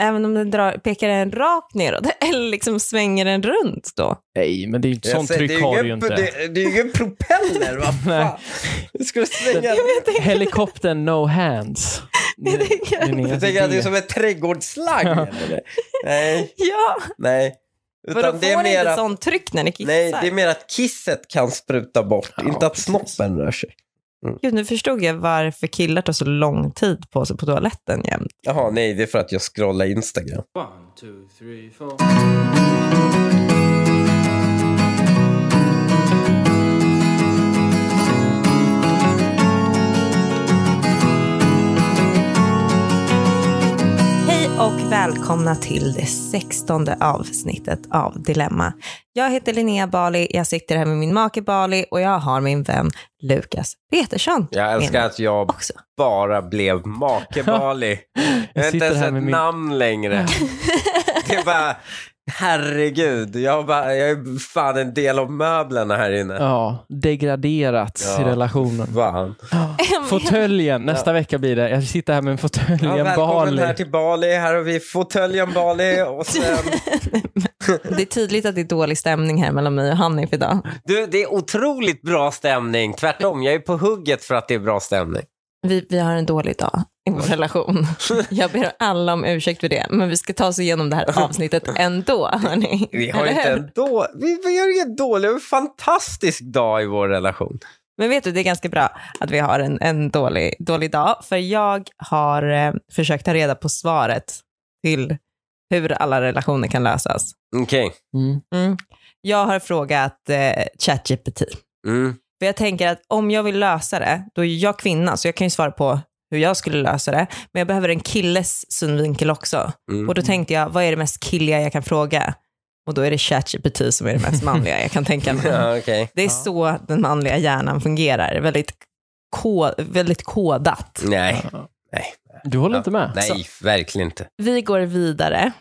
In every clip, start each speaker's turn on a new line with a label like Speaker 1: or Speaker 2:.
Speaker 1: Även om den drar, pekar den rakt neråt eller liksom svänger den runt då?
Speaker 2: Nej, men det är ju inte sånt
Speaker 3: säger,
Speaker 2: tryck har
Speaker 3: ingen-
Speaker 2: du ju inte.
Speaker 3: Det, det är ju ingen propeller, vad fan. Du skulle svänga.
Speaker 2: Helikoptern no hands.
Speaker 1: Jag tänker att-
Speaker 3: Du tänker att det är som ett trädgårdsslang? eller? Nej,
Speaker 1: Ja,
Speaker 3: nej.
Speaker 1: för då
Speaker 3: Utan det
Speaker 1: får
Speaker 3: är
Speaker 1: den
Speaker 3: mer
Speaker 1: inte
Speaker 3: att,
Speaker 1: sånt tryck när den kissar.
Speaker 3: nej, det är mer att kisset kan spruta bort,
Speaker 2: Ja,
Speaker 3: inte att
Speaker 2: precis.
Speaker 3: snoppen rör sig.
Speaker 1: Gud, nu förstod jag varför killar tar så lång tid på sig på toaletten jämt.
Speaker 3: Jaha, nej, det är för att jag scrollar Instagram.
Speaker 4: One, two, three, four.
Speaker 1: Hej och välkomna till det sextonde avsnittet av Dilemma. Jag heter Linnea Bali, jag sitter här med min make Bali och jag har min vän Lukas Petersson.
Speaker 3: Jag älskar
Speaker 1: med
Speaker 3: att jag
Speaker 1: också.
Speaker 3: bara blev make Bali. Jag har
Speaker 2: Jag
Speaker 3: inte
Speaker 2: sitter
Speaker 3: ens
Speaker 2: här
Speaker 3: ett
Speaker 2: med min...
Speaker 3: namn längre. Det är bara, herregud, jag, bara, jag är fan en del av möblerna här inne.
Speaker 2: Ja, degraderats
Speaker 3: Ja.
Speaker 2: i relationen.
Speaker 3: Fan.
Speaker 2: Fåtöljen, nästa vecka blir det. Jag sitter här med en fåtölj,
Speaker 3: Ja,
Speaker 2: en
Speaker 3: välkommen
Speaker 2: Bali.
Speaker 3: här till Bali, här har vi fåtöljen Bali och sen
Speaker 1: Det är tydligt att det är dålig stämning här mellan mig och Hanif idag.
Speaker 3: Du, det är otroligt bra stämning. Tvärtom, jag är på hugget för att det är bra stämning.
Speaker 1: Vi, vi har en dålig dag i vår relation. Jag ber alla om ursäkt för det, men vi ska ta oss igenom det här avsnittet ändå. Hörni.
Speaker 3: Vi har
Speaker 1: Eller
Speaker 3: inte
Speaker 1: hur?
Speaker 3: en då... vi, vi har ingen dålig, vi har en fantastisk dag i vår relation.
Speaker 1: Men vet du, det är ganska bra att vi har en, en dålig, dålig dag, för jag har eh, försökt ta reda på svaret till hur alla relationer kan lösas.
Speaker 3: Okej.
Speaker 2: Mm.
Speaker 1: Mm. Jag har frågat eh, ChatGPT,
Speaker 3: Mm.
Speaker 1: för jag tänker att om jag vill lösa det, då är ju jag kvinna, så jag kan ju svara på hur jag skulle lösa det, men jag behöver en killes synvinkel också.
Speaker 3: Mm.
Speaker 1: Och då tänkte jag, vad är det mest killiga jag kan fråga? Och då är det ChatGPT som är det mest manliga jag kan tänka mig.
Speaker 3: Ja, okej.
Speaker 1: Det är så den manliga hjärnan fungerar. Väldigt, ko- väldigt kodat.
Speaker 3: Nej,
Speaker 2: Du håller
Speaker 3: Ja.
Speaker 2: inte med?
Speaker 3: nej, verkligen inte.
Speaker 1: Vi går vidare.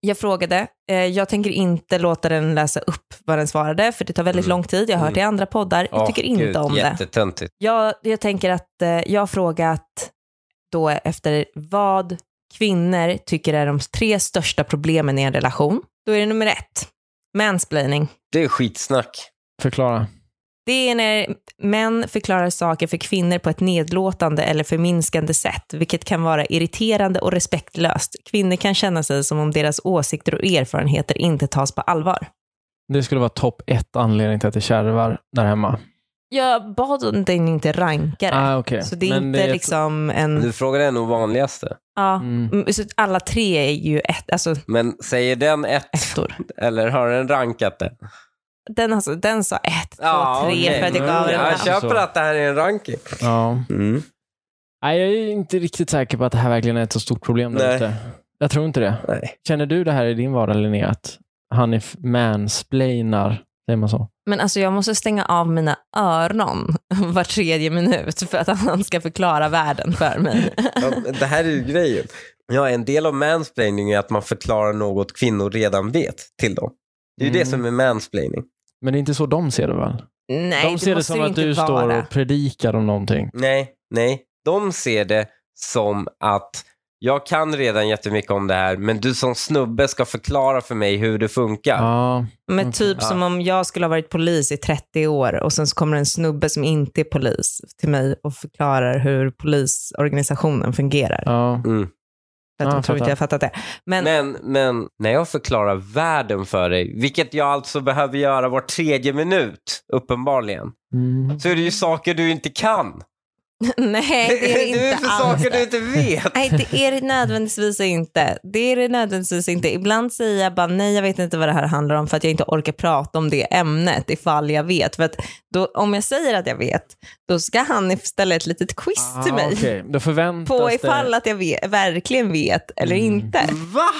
Speaker 1: Jag frågade, eh, jag tänker inte låta den läsa upp vad den svarade, för det tar väldigt
Speaker 3: Mm.
Speaker 1: lång tid. Jag har hört det i andra poddar. Jag
Speaker 3: Åh,
Speaker 1: tycker inte
Speaker 3: Gud,
Speaker 1: om det.
Speaker 3: Jättetöntigt.
Speaker 1: Jag, jag tänker att eh, jag har frågat då efter vad kvinnor tycker är de tre största problemen i en relation. Då är det nummer ett, mansplaining.
Speaker 3: Det är skitsnack.
Speaker 2: Förklara.
Speaker 1: Det är när män förklarar saker för kvinnor på ett nedlåtande eller förminskande sätt, vilket kan vara irriterande och respektlöst. Kvinnor kan känna sig som om deras åsikter och erfarenheter inte tas på allvar.
Speaker 2: Det skulle vara topp ett anledning till att det kärvar där hemma.
Speaker 1: Jag bad den inte ranka det.
Speaker 2: Ah, okay.
Speaker 1: Så det är inte liksom en...
Speaker 3: Du frågar den nog vanligaste.
Speaker 1: Ja,
Speaker 2: Mm.
Speaker 1: Mm, så alla tre är ju ett, alltså
Speaker 3: Men säger den ett
Speaker 1: ettor.
Speaker 3: eller har den rankat det?
Speaker 1: Den, alltså, den sa ett, två, tre
Speaker 3: okej.
Speaker 1: för att jag gav
Speaker 3: Mm,
Speaker 1: den
Speaker 3: Jag
Speaker 1: namn.
Speaker 2: kör.
Speaker 3: köper att det här är en ranking.
Speaker 2: Ja.
Speaker 3: Mm.
Speaker 2: Nej, jag är inte riktigt säker på att det här verkligen är ett så stort problem där
Speaker 3: Nej.
Speaker 2: ute. Jag tror inte det.
Speaker 3: Nej.
Speaker 2: Känner du det här i din vardag, Linnea? Att Hanif mansplainar? Säger man så?
Speaker 1: Men alltså jag måste stänga av mina öron var tredje minut för att han ska förklara världen för mig.
Speaker 3: Ja, men det här är ju grejen. Ja, en del av mansplaining är att man förklarar något kvinnor redan vet till dem. Det är ju
Speaker 2: Mm.
Speaker 3: det som är mansplaining.
Speaker 2: Men det är inte så de ser det väl?
Speaker 1: Nej,
Speaker 2: de ser det
Speaker 1: måste
Speaker 2: som
Speaker 1: ju
Speaker 2: att
Speaker 1: inte
Speaker 2: du står
Speaker 1: vara.
Speaker 2: och predikar om någonting.
Speaker 3: Nej, nej. De ser det som att jag kan redan jättemycket om det här, men du som snubbe ska förklara för mig hur det funkar.
Speaker 2: Mm. Ja.
Speaker 1: Men typ
Speaker 3: Ja.
Speaker 1: som om jag skulle ha varit polis i 30 år och sen så kommer en snubbe som inte är polis till mig och förklarar hur polisorganisationen fungerar.
Speaker 2: ja.
Speaker 3: Mm.
Speaker 1: För att
Speaker 2: Ja,
Speaker 1: de
Speaker 2: jag
Speaker 1: tror inte
Speaker 2: fattar.
Speaker 1: jag har fattat det. Men,
Speaker 3: Men, men när jag förklarar världen för dig, vilket jag alltså behöver göra var tredje minut, uppenbarligen,
Speaker 2: Mm.
Speaker 3: så är det ju saker du inte kan.
Speaker 1: nej, det är det inte
Speaker 3: är för
Speaker 1: alls.
Speaker 3: saker du inte vet.
Speaker 1: Nej, det är det nödvändigtvis inte. Det är det nödvändigtvis inte. Ibland säger jag bara nej, jag vet inte vad det här handlar om för att jag inte orkar prata om det ämnet ifall jag vet. För att då, om jag säger att jag vet, då ska han ställa ett litet quiz till mig.
Speaker 2: Ah, okej. Då förväntas
Speaker 1: På
Speaker 2: det...
Speaker 1: ifall att jag vet, verkligen vet eller
Speaker 2: Mm.
Speaker 1: inte.
Speaker 3: Va?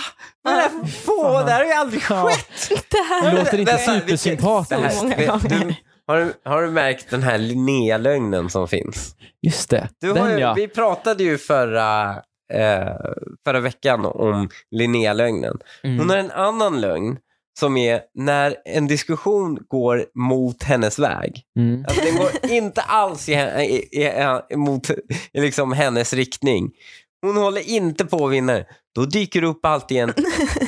Speaker 3: Vad är det här för få? Det här har ju aldrig
Speaker 2: Ja.
Speaker 3: skett.
Speaker 1: Det här
Speaker 2: Låter inte
Speaker 3: Vänta, vilket-
Speaker 2: supersympatiskt.
Speaker 3: det här-
Speaker 1: Så många
Speaker 3: vet-
Speaker 1: gånger.
Speaker 3: du- Har du, har du märkt den här Linnea-lögnen som finns?
Speaker 2: Just det.
Speaker 3: Du har
Speaker 2: Den
Speaker 3: ju,
Speaker 2: ja.
Speaker 3: vi pratade ju förra, eh, förra veckan om Linnea-lögnen.
Speaker 2: Mm.
Speaker 3: Hon har en annan lögn som är när en diskussion går mot hennes väg.
Speaker 2: Mm.
Speaker 3: Alltså den går inte alls i, i, i, i, mot i liksom hennes riktning. Hon håller inte på och vinner. Då dyker det upp alltid en,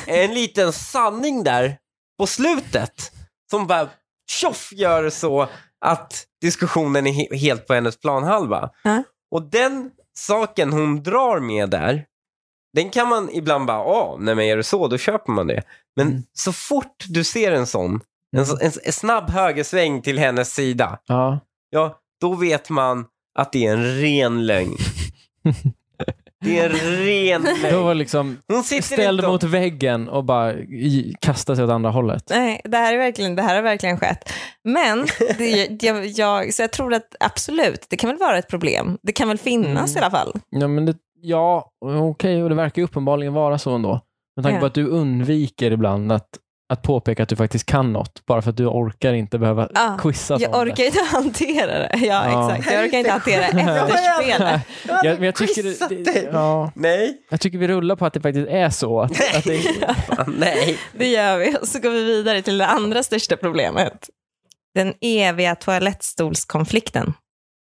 Speaker 3: en liten sanning där på slutet som bara tjoff gör så att diskussionen är he- helt på hennes planhalva.
Speaker 1: Ja.
Speaker 3: Och den saken hon drar med där, den kan man ibland bara, ja, nej men är det så, då köper man det. Men
Speaker 2: Mm.
Speaker 3: så fort du ser en sån, en, så- en, en snabb högersväng till hennes sida,
Speaker 2: Ja.
Speaker 3: ja, då vet man att det är en ren lögn. det är en ren
Speaker 2: Då
Speaker 3: lögn.
Speaker 2: var liksom
Speaker 3: Hon sitter
Speaker 2: ställd
Speaker 3: inte och-
Speaker 2: mot väggen och bara i- kastade sig åt andra hållet.
Speaker 1: Nej, det här, är verkligen, det här har verkligen skett. Men det, jag, jag, så jag tror att absolut, det kan väl vara ett problem. Det kan väl finnas
Speaker 2: Mm.
Speaker 1: i alla fall.
Speaker 2: Ja, men det, ja okej, och det verkar ju uppenbarligen vara så ändå. Med tanke
Speaker 1: Ja.
Speaker 2: på att du undviker ibland att, att påpeka att du faktiskt kan något, bara för att du orkar inte behöva
Speaker 1: Ja,
Speaker 2: quizas
Speaker 1: Ah, Jag
Speaker 2: om det.
Speaker 1: orkar inte hantera det. Ja,
Speaker 2: Ja.
Speaker 1: exakt. Jag orkar inte hantera
Speaker 2: Jag
Speaker 1: efterspelet.
Speaker 2: Jag, men jag, tycker det, det, ja,
Speaker 3: Nej.
Speaker 2: jag tycker vi rullar på att det faktiskt är så. Att, att det,
Speaker 3: Fan, nej.
Speaker 1: Det gör vi. Och så går vi vidare till det andra största problemet. Den eviga toalettstolskonflikten.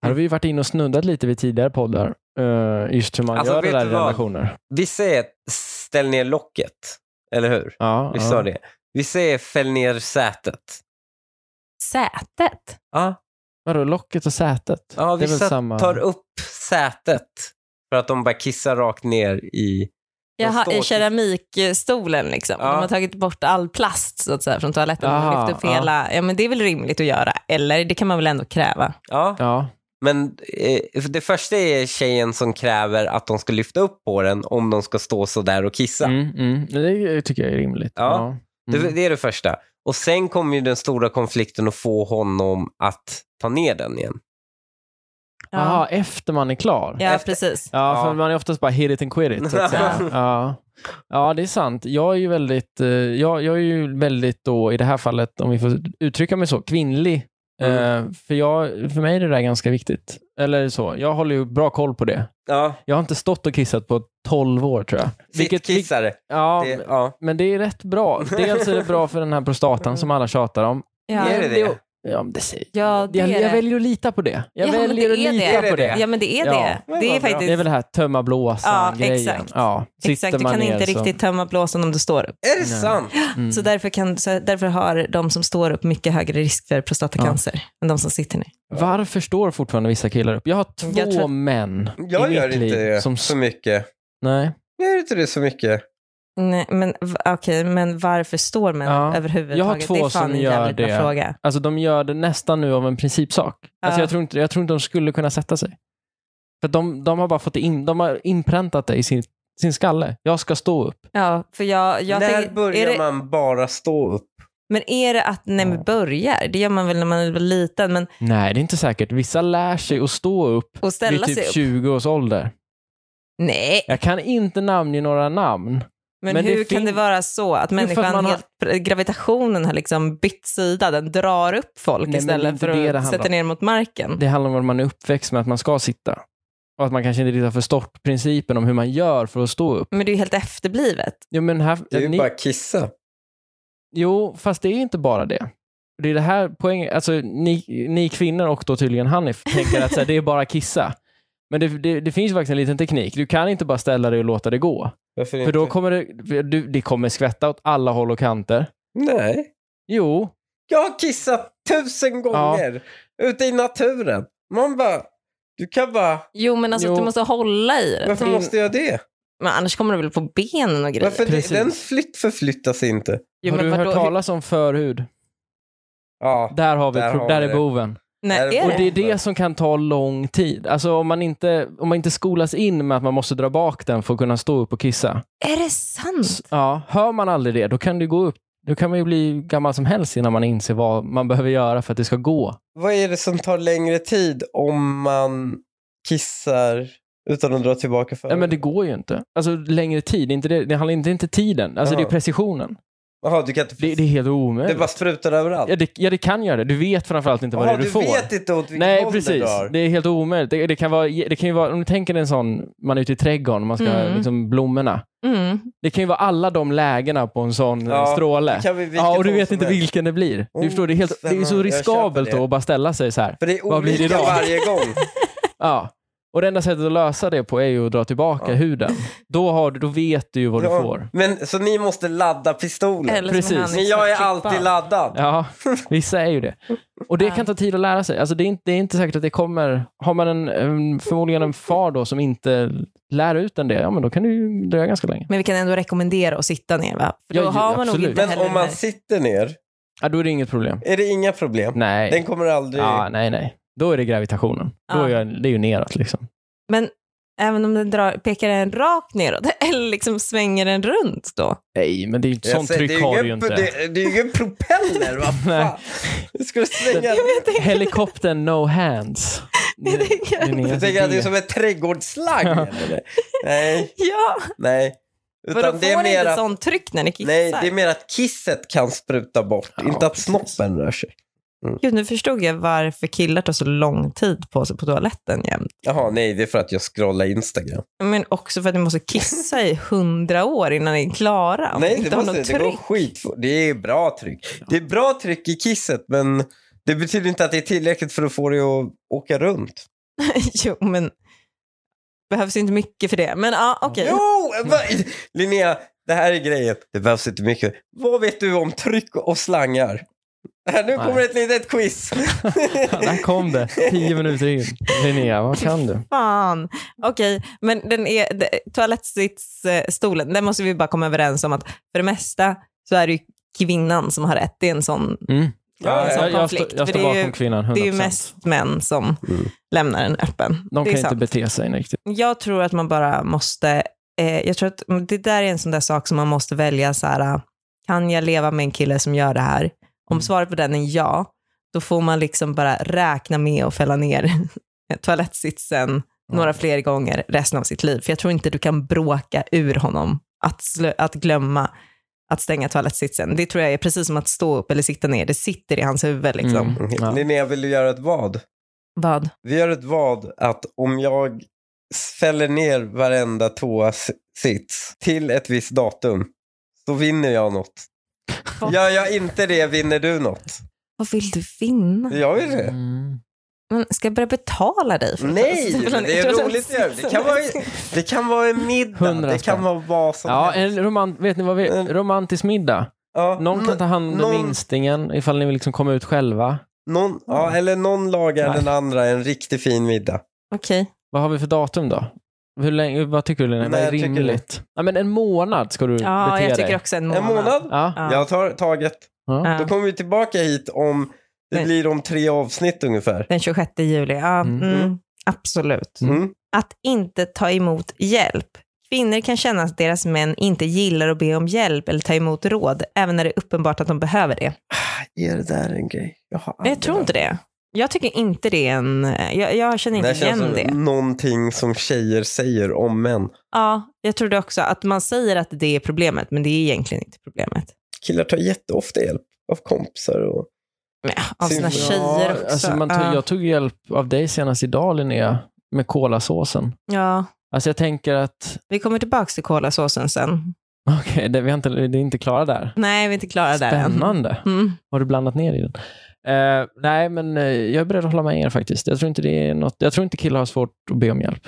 Speaker 2: här har vi ju varit inne och snuddat lite vid tidigare poddar, eh, just hur man
Speaker 3: Alltså,
Speaker 2: gör det
Speaker 3: vet
Speaker 2: där i
Speaker 3: du vad?
Speaker 2: relationer.
Speaker 3: Vi säger ställ ner locket, eller hur?
Speaker 2: Ja,
Speaker 3: Vi
Speaker 2: ja.
Speaker 3: sa det. Vi säger fäll ner sätet.
Speaker 1: Sätet.
Speaker 3: Ja,
Speaker 2: Vadå, locket och sätet?
Speaker 3: ja
Speaker 2: det är väl
Speaker 3: vissa
Speaker 2: samma?
Speaker 3: tar upp sätet för att de bara kissar rakt ner i... De
Speaker 1: Jaha,
Speaker 3: står-
Speaker 1: i keramikstolen liksom.
Speaker 3: Ja.
Speaker 1: De har tagit bort all plast så att säga, från toaletten. De
Speaker 2: Aha,
Speaker 1: har lyft upp
Speaker 2: ja.
Speaker 1: hela. Ja, men det är väl rimligt att göra? Eller det kan man väl ändå kräva?
Speaker 3: Ja,
Speaker 2: Ja,
Speaker 3: men eh, för det första är tjejen som kräver att de ska lyfta upp på den om de ska stå så där och kissa.
Speaker 2: mm, mm. det tycker jag är rimligt.
Speaker 3: Ja.
Speaker 2: Ja. Mm.
Speaker 3: Det, det är det första. Och sen kommer ju den stora konflikten att få honom att ta ner den igen.
Speaker 1: Ja,
Speaker 2: Jaha, Mm. efter man är klar?
Speaker 1: ja
Speaker 3: efter-
Speaker 1: precis.
Speaker 2: Ja,
Speaker 3: Ja.
Speaker 2: för man är oftast bara hit it and quit it. Så att säga. ja. ja, det är sant. Jag är ju väldigt, eh, jag, jag är ju väldigt då, i det här fallet, om vi får uttrycka mig så, kvinnlig. Eh, för, jag, för mig är det där ganska viktigt. Eller så. Jag håller ju bra koll på det.
Speaker 3: Ja,
Speaker 2: Jag har inte stått och kissat på 12 år tror jag. vilk-
Speaker 3: sittkissare.
Speaker 2: ja,
Speaker 3: Det- Ja.
Speaker 2: men det är rätt bra. Dels är det bra för den här prostatan som alla tjatar om.
Speaker 1: Ja,
Speaker 3: Är det det?
Speaker 2: Ja, men det säger
Speaker 1: ja det
Speaker 2: jag,
Speaker 1: är
Speaker 2: jag
Speaker 1: det.
Speaker 2: väljer att lita på det. Jag
Speaker 1: Ja, men
Speaker 2: väljer
Speaker 1: det
Speaker 2: att
Speaker 1: är
Speaker 2: lita
Speaker 1: det.
Speaker 2: på det.
Speaker 1: Ja, men det är
Speaker 2: Ja.
Speaker 1: det.
Speaker 3: Men
Speaker 1: Det är
Speaker 3: vad bra.
Speaker 1: faktiskt...
Speaker 2: Det är väl det här tömma blåsan-grejen.
Speaker 1: Ja, exakt.
Speaker 2: Ja, sitter
Speaker 1: Exakt, du
Speaker 2: man
Speaker 1: kan
Speaker 2: ner
Speaker 1: inte
Speaker 2: så-
Speaker 1: riktigt tömma blåsan om du står upp.
Speaker 3: Är det
Speaker 2: Nej.
Speaker 3: sant?
Speaker 2: Mm.
Speaker 1: Så, därför kan, så därför har de som står upp mycket högre risk för prostatacancer än de som sitter ner.
Speaker 2: Varför står fortfarande vissa killar upp? Jag har två
Speaker 1: Jag tror-
Speaker 2: män
Speaker 3: Jag
Speaker 2: i
Speaker 3: gör
Speaker 2: mitt
Speaker 3: inte
Speaker 2: liv
Speaker 3: det
Speaker 2: som...
Speaker 3: så mycket.
Speaker 2: Nej.
Speaker 3: Jag gör inte det så mycket.
Speaker 1: Nej, men v- okej, men varför står män
Speaker 2: Ja.
Speaker 1: upp överhuvudtaget?
Speaker 2: Jag har två
Speaker 1: det är fan
Speaker 2: som
Speaker 1: en
Speaker 2: gör
Speaker 1: jävligt bra
Speaker 2: det.
Speaker 1: Fråga.
Speaker 2: Alltså de gör det nästan nu av en principsak. Alltså,
Speaker 1: Ja.
Speaker 2: jag, tror inte, jag tror inte de skulle kunna sätta sig. För de, de har bara fått det in, de har inpräntat det i sin, sin skalle. Jag ska stå upp.
Speaker 1: Ja, för jag, jag
Speaker 3: När
Speaker 1: tänker- är
Speaker 3: börjar
Speaker 1: det,
Speaker 3: man bara stå upp?
Speaker 1: Men är det att när man börjar? Det gör man väl när man är liten, men
Speaker 2: Nej, det är inte säkert. Vissa lär sig att stå upp
Speaker 1: att ställa sig
Speaker 2: vid typ
Speaker 1: upp?
Speaker 2: 20 års ålder.
Speaker 1: Nej,
Speaker 2: Jag kan inte namnge några namn.
Speaker 1: men,
Speaker 2: men det
Speaker 1: hur kan
Speaker 2: fin-
Speaker 1: det vara så att
Speaker 2: för att
Speaker 1: människan,
Speaker 2: man har-
Speaker 1: helt, gravitationen har liksom bytt sida, den drar upp folk
Speaker 2: Nej, men det är
Speaker 1: istället
Speaker 2: inte det
Speaker 1: för
Speaker 2: det
Speaker 1: att
Speaker 2: handlar
Speaker 1: sätta
Speaker 2: om.
Speaker 1: ner mot marken?
Speaker 3: Mm.
Speaker 2: Det handlar om att man är uppväxt med att man ska sitta. Och att man kanske inte riktigt har förstått principen om hur man gör för att stå upp.
Speaker 1: Men det är ju helt efterblivet.
Speaker 2: Jo, men här,
Speaker 3: Det är ju
Speaker 2: ni,
Speaker 3: bara kissa.
Speaker 2: jo, fast det är inte bara det. Det är det här poängen, alltså ni, ni kvinnor och då tydligen Hanif tänker att så här, det är bara kissa. Men det, det, det finns ju faktiskt en liten teknik. Du kan inte bara ställa dig och låta det gå.
Speaker 3: Varför
Speaker 2: För
Speaker 3: inte?
Speaker 2: då kommer det, du, det kommer skvätta åt alla håll och kanter.
Speaker 3: Nej.
Speaker 2: Jo,
Speaker 3: Jag har kissat tusen gånger ute i naturen. Man bara, du kan bara,
Speaker 1: Jo, men alltså
Speaker 2: Jo.
Speaker 1: att du måste hålla i det.
Speaker 3: varför måste jag det?
Speaker 1: Men annars kommer du väl på benen och grejer?
Speaker 3: Varför
Speaker 2: Precis.
Speaker 3: den flytt förflyttas inte?
Speaker 1: Jo,
Speaker 2: har
Speaker 1: men
Speaker 2: du hört
Speaker 1: vadå?
Speaker 2: talas om förhud?
Speaker 3: Ja.
Speaker 2: Där har vi,
Speaker 3: Där
Speaker 2: där,
Speaker 3: har vi
Speaker 2: där är
Speaker 3: det.
Speaker 2: boven.
Speaker 1: Nej, är
Speaker 2: Och
Speaker 1: det?
Speaker 2: det är det som kan ta lång tid. Alltså om man inte, om man inte skolas in med att man måste dra bak den för att kunna stå upp och kissa.
Speaker 1: Är det sant?
Speaker 2: S- Ja, hör man aldrig det, då kan du gå upp. Då kan man ju bli gammal som helst innan man inser vad man behöver göra för att det ska gå.
Speaker 3: Vad är det som tar längre tid om man kissar utan att dra tillbaka för?
Speaker 2: Nej, men det går ju inte. Alltså längre tid, det är inte det, det handlar inte, det är inte tiden. Alltså
Speaker 3: Jaha.
Speaker 2: det är precisionen.
Speaker 3: Jaha, du kan inte...
Speaker 2: Det, det är helt
Speaker 3: det
Speaker 2: omöjligt.
Speaker 3: bara sprutar överallt.
Speaker 2: ja, det, ja, det kan göra det. Du vet framförallt inte vad det
Speaker 3: Jaha,
Speaker 2: är du,
Speaker 3: du
Speaker 2: får.
Speaker 3: vet inte åt vilket
Speaker 2: Nej,
Speaker 3: håll det
Speaker 2: precis.
Speaker 3: drar.
Speaker 2: Det är helt omöjligt. Det, det, kan vara, det kan ju vara, om du tänker dig en sån, man är ute i trädgården, man ska
Speaker 1: Mm.
Speaker 2: liksom blommorna.
Speaker 1: Mm.
Speaker 2: Det kan ju vara alla de lägena på en sån
Speaker 3: Ja,
Speaker 2: eh, stråle.
Speaker 3: Det kan vi vilket
Speaker 2: Ja, och du
Speaker 3: håll
Speaker 2: vet
Speaker 3: som
Speaker 2: inte
Speaker 3: helst.
Speaker 2: vilken det blir.
Speaker 3: Oh,
Speaker 2: du förstår, det är, helt, det är
Speaker 3: spännande.
Speaker 2: så
Speaker 3: Jag
Speaker 2: riskabelt
Speaker 3: köper det.
Speaker 2: då att bara ställa sig så här.
Speaker 3: För det är
Speaker 2: Vad blir det
Speaker 3: olika
Speaker 2: idag?
Speaker 3: varje gång.
Speaker 2: Ja. Och det enda sättet att lösa det på är ju att dra tillbaka huden. Då, har du, då vet du ju vad
Speaker 3: Ja,
Speaker 2: du får.
Speaker 3: Men, så ni måste ladda pistolen?
Speaker 1: Eller som
Speaker 2: Precis.
Speaker 1: han liksom
Speaker 3: men jag är
Speaker 1: exakt
Speaker 3: alltid
Speaker 1: klippar.
Speaker 3: laddad.
Speaker 2: Ja, vissa är ju det. Och det kan ta tid att lära sig. Alltså det, är inte, det är inte säkert att det kommer... Har man en, en, förmodligen en far då som inte lär ut en det, ja men då kan det ju dröja ganska länge.
Speaker 1: Men vi kan ändå rekommendera att sitta ner va? För då
Speaker 2: Ja, ju-
Speaker 1: har man nog
Speaker 2: absolut.
Speaker 1: inte
Speaker 3: Men
Speaker 1: heller
Speaker 3: om man
Speaker 1: den här-
Speaker 3: sitter ner,
Speaker 2: Ja, då är det inget problem.
Speaker 3: är det inga problem?
Speaker 2: Nej.
Speaker 3: Den kommer aldrig...
Speaker 2: Ja, nej, nej. Då är det gravitationen. Då är
Speaker 1: Ja.
Speaker 2: jag, det är ju neråt liksom.
Speaker 1: Men även om den drar, pekar den rakt neråt eller liksom svänger den runt då?
Speaker 2: Nej, men det är ju,
Speaker 3: Jag
Speaker 2: sånt
Speaker 3: säger,
Speaker 2: tryck
Speaker 3: det är
Speaker 2: har
Speaker 3: ingen-
Speaker 2: du ju inte.
Speaker 3: Det, det är ju ingen propeller, vad fan. Du skulle svänga...
Speaker 2: Helikoptern no hands.
Speaker 1: Jag tänker-
Speaker 3: Du tänker att det är som ett trädgårdsslang? eller? Nej,
Speaker 1: Ja,
Speaker 3: nej.
Speaker 1: Vadå, får
Speaker 3: Utan det är mer
Speaker 1: inte
Speaker 3: att,
Speaker 1: sånt tryck när ni kissar?
Speaker 3: nej, det är mer att kisset kan spruta bort,
Speaker 2: Ja,
Speaker 3: inte att
Speaker 2: precis.
Speaker 3: snoppen rör sig.
Speaker 1: Gud, nu förstod jag varför killar tar så lång tid på sig på toaletten jämt.
Speaker 3: Jaha, nej, det är för att jag scrollar Instagram.
Speaker 1: Men också för att ni måste kissa i hundra år innan ni är klara. om ni
Speaker 3: nej,
Speaker 1: inte
Speaker 3: det,
Speaker 1: har
Speaker 3: måste,
Speaker 1: något
Speaker 3: det går
Speaker 1: tryck.
Speaker 3: skit. Det är bra tryck. Det är bra tryck i kisset, men det betyder inte att det är tillräckligt för att få det att åka runt.
Speaker 1: jo, men behövs inte mycket för det. Men ja, okej.
Speaker 3: Jo! Va? Linnea, det här är grejen. Det behövs inte mycket. Vad vet du om tryck och slangar? Här, nu
Speaker 2: Nej.
Speaker 3: kommer ett litet quiz.
Speaker 2: Där kom det. Tio minuter in. Linnea, vad kan
Speaker 3: Mm.
Speaker 2: du?
Speaker 1: Fan. Okej, men den är, det- toalettsitsstolen, den måste vi bara komma överens om att för det mesta så är det ju kvinnan som har rätt. Det är en sån,
Speaker 2: Mm.
Speaker 1: Ja, en sån
Speaker 2: jag, jag,
Speaker 1: konflikt,
Speaker 2: står- jag
Speaker 1: för
Speaker 2: står
Speaker 1: det är ju-
Speaker 2: bakom kvinnan, 100%.
Speaker 1: det är ju mest män som
Speaker 3: Mm.
Speaker 1: lämnar den öppen.
Speaker 2: De
Speaker 1: det är
Speaker 2: kan ju
Speaker 1: sant.
Speaker 2: inte bete sig riktigt.
Speaker 1: Jag tror att man bara måste, eh, jag tror att det där är en sån där sak som man måste välja så här, ah, kan jag leva med en kille som gör det här? Om
Speaker 2: Mm.
Speaker 1: svaret på den är ja, då får man liksom bara räkna med att fälla ner toalettsitsen några fler gånger resten av sitt liv. För jag tror inte du kan bråka ur honom att, slö- att glömma att stänga toalettsitsen. Det tror jag är precis som att stå upp eller sitta ner. Det sitter i hans huvud liksom.
Speaker 2: Mm. Ja.
Speaker 3: Linnea, vill du göra ett vad?
Speaker 1: Vad?
Speaker 3: Vi gör ett vad att om jag fäller ner varenda toasits till ett visst datum så vinner jag något.
Speaker 1: Vad?
Speaker 3: Gör jag inte det vinner du något.
Speaker 1: Vad vill du vinna?
Speaker 3: Jag vill det.
Speaker 2: Mm.
Speaker 1: Men ska jag börja betala dig? För
Speaker 3: Nej,
Speaker 1: toalettsitsen?
Speaker 3: det är roligt att göra. Det kan vara, det kan vara en middag.
Speaker 2: Hundra
Speaker 3: Det kan
Speaker 2: spänn.
Speaker 3: vara vad som
Speaker 2: Ja,
Speaker 3: helst.
Speaker 2: en romant, vet ni vad vi,
Speaker 3: En-
Speaker 2: romantisk middag.
Speaker 3: Ja,
Speaker 2: Någon kan ta hand om
Speaker 3: någon-
Speaker 2: minstingen ifall ni vill liksom komma ut själva.
Speaker 3: Någon, ja, eller någon lagar
Speaker 2: Nej.
Speaker 3: den andra en riktigt fin middag.
Speaker 1: Okej.
Speaker 2: Vad har vi för datum då? Hur länge, vad tycker du Linnea? Vad
Speaker 3: Nej,
Speaker 2: är
Speaker 3: jag tycker
Speaker 2: rimligt? Ja, men en månad ska du
Speaker 1: Ja,
Speaker 2: bete
Speaker 1: jag tycker
Speaker 2: dig.
Speaker 1: också en
Speaker 3: En
Speaker 1: månad.
Speaker 3: månad?
Speaker 2: Ja.
Speaker 1: Ja.
Speaker 3: Jag tar taget.
Speaker 2: Ja.
Speaker 1: Ja.
Speaker 3: Då kommer vi tillbaka hit om, det
Speaker 1: Nej.
Speaker 3: blir om tre avsnitt ungefär.
Speaker 1: Den 26 juli, ja.
Speaker 2: Mm.
Speaker 1: Mm. Absolut.
Speaker 3: Mm.
Speaker 1: Att inte ta emot hjälp. Kvinnor kan känna att deras män inte gillar att be om hjälp eller ta emot råd, även när det är uppenbart att de behöver det.
Speaker 3: Är det där en grej? Jag, har aldrig
Speaker 1: Jag tror inte det. Jag tycker inte det är en... Jag, jag känner
Speaker 3: hört.
Speaker 1: inte
Speaker 3: Det här känns
Speaker 1: igen
Speaker 3: som
Speaker 1: det.
Speaker 3: någonting som tjejer säger om män.
Speaker 1: Ja, jag tror det också. Att man säger att det är problemet, men det är egentligen inte problemet.
Speaker 3: Killar tar jätteofta hjälp av kompisar. Och...
Speaker 1: Men, ja, av sina
Speaker 3: Ja,
Speaker 1: tjejer också. Ah.
Speaker 2: Alltså, man tog,
Speaker 1: ja.
Speaker 2: Jag tog hjälp av dig senast idag Linnea, med kolasåsen.
Speaker 1: ja,
Speaker 2: Alltså jag tänker att,
Speaker 1: vi kommer tillbaka till kolasåsen sen.
Speaker 2: okej, det, vi har inte, det är inte klara där.
Speaker 1: Nej, vi är inte klara där än.
Speaker 2: Spännande.
Speaker 1: Mm.
Speaker 2: Har du blandat ner i den? Eh, nej, men eh, jag är beredd att hålla med er faktiskt. Jag tror inte, det är något, jag tror inte killar har svårt att be om hjälp.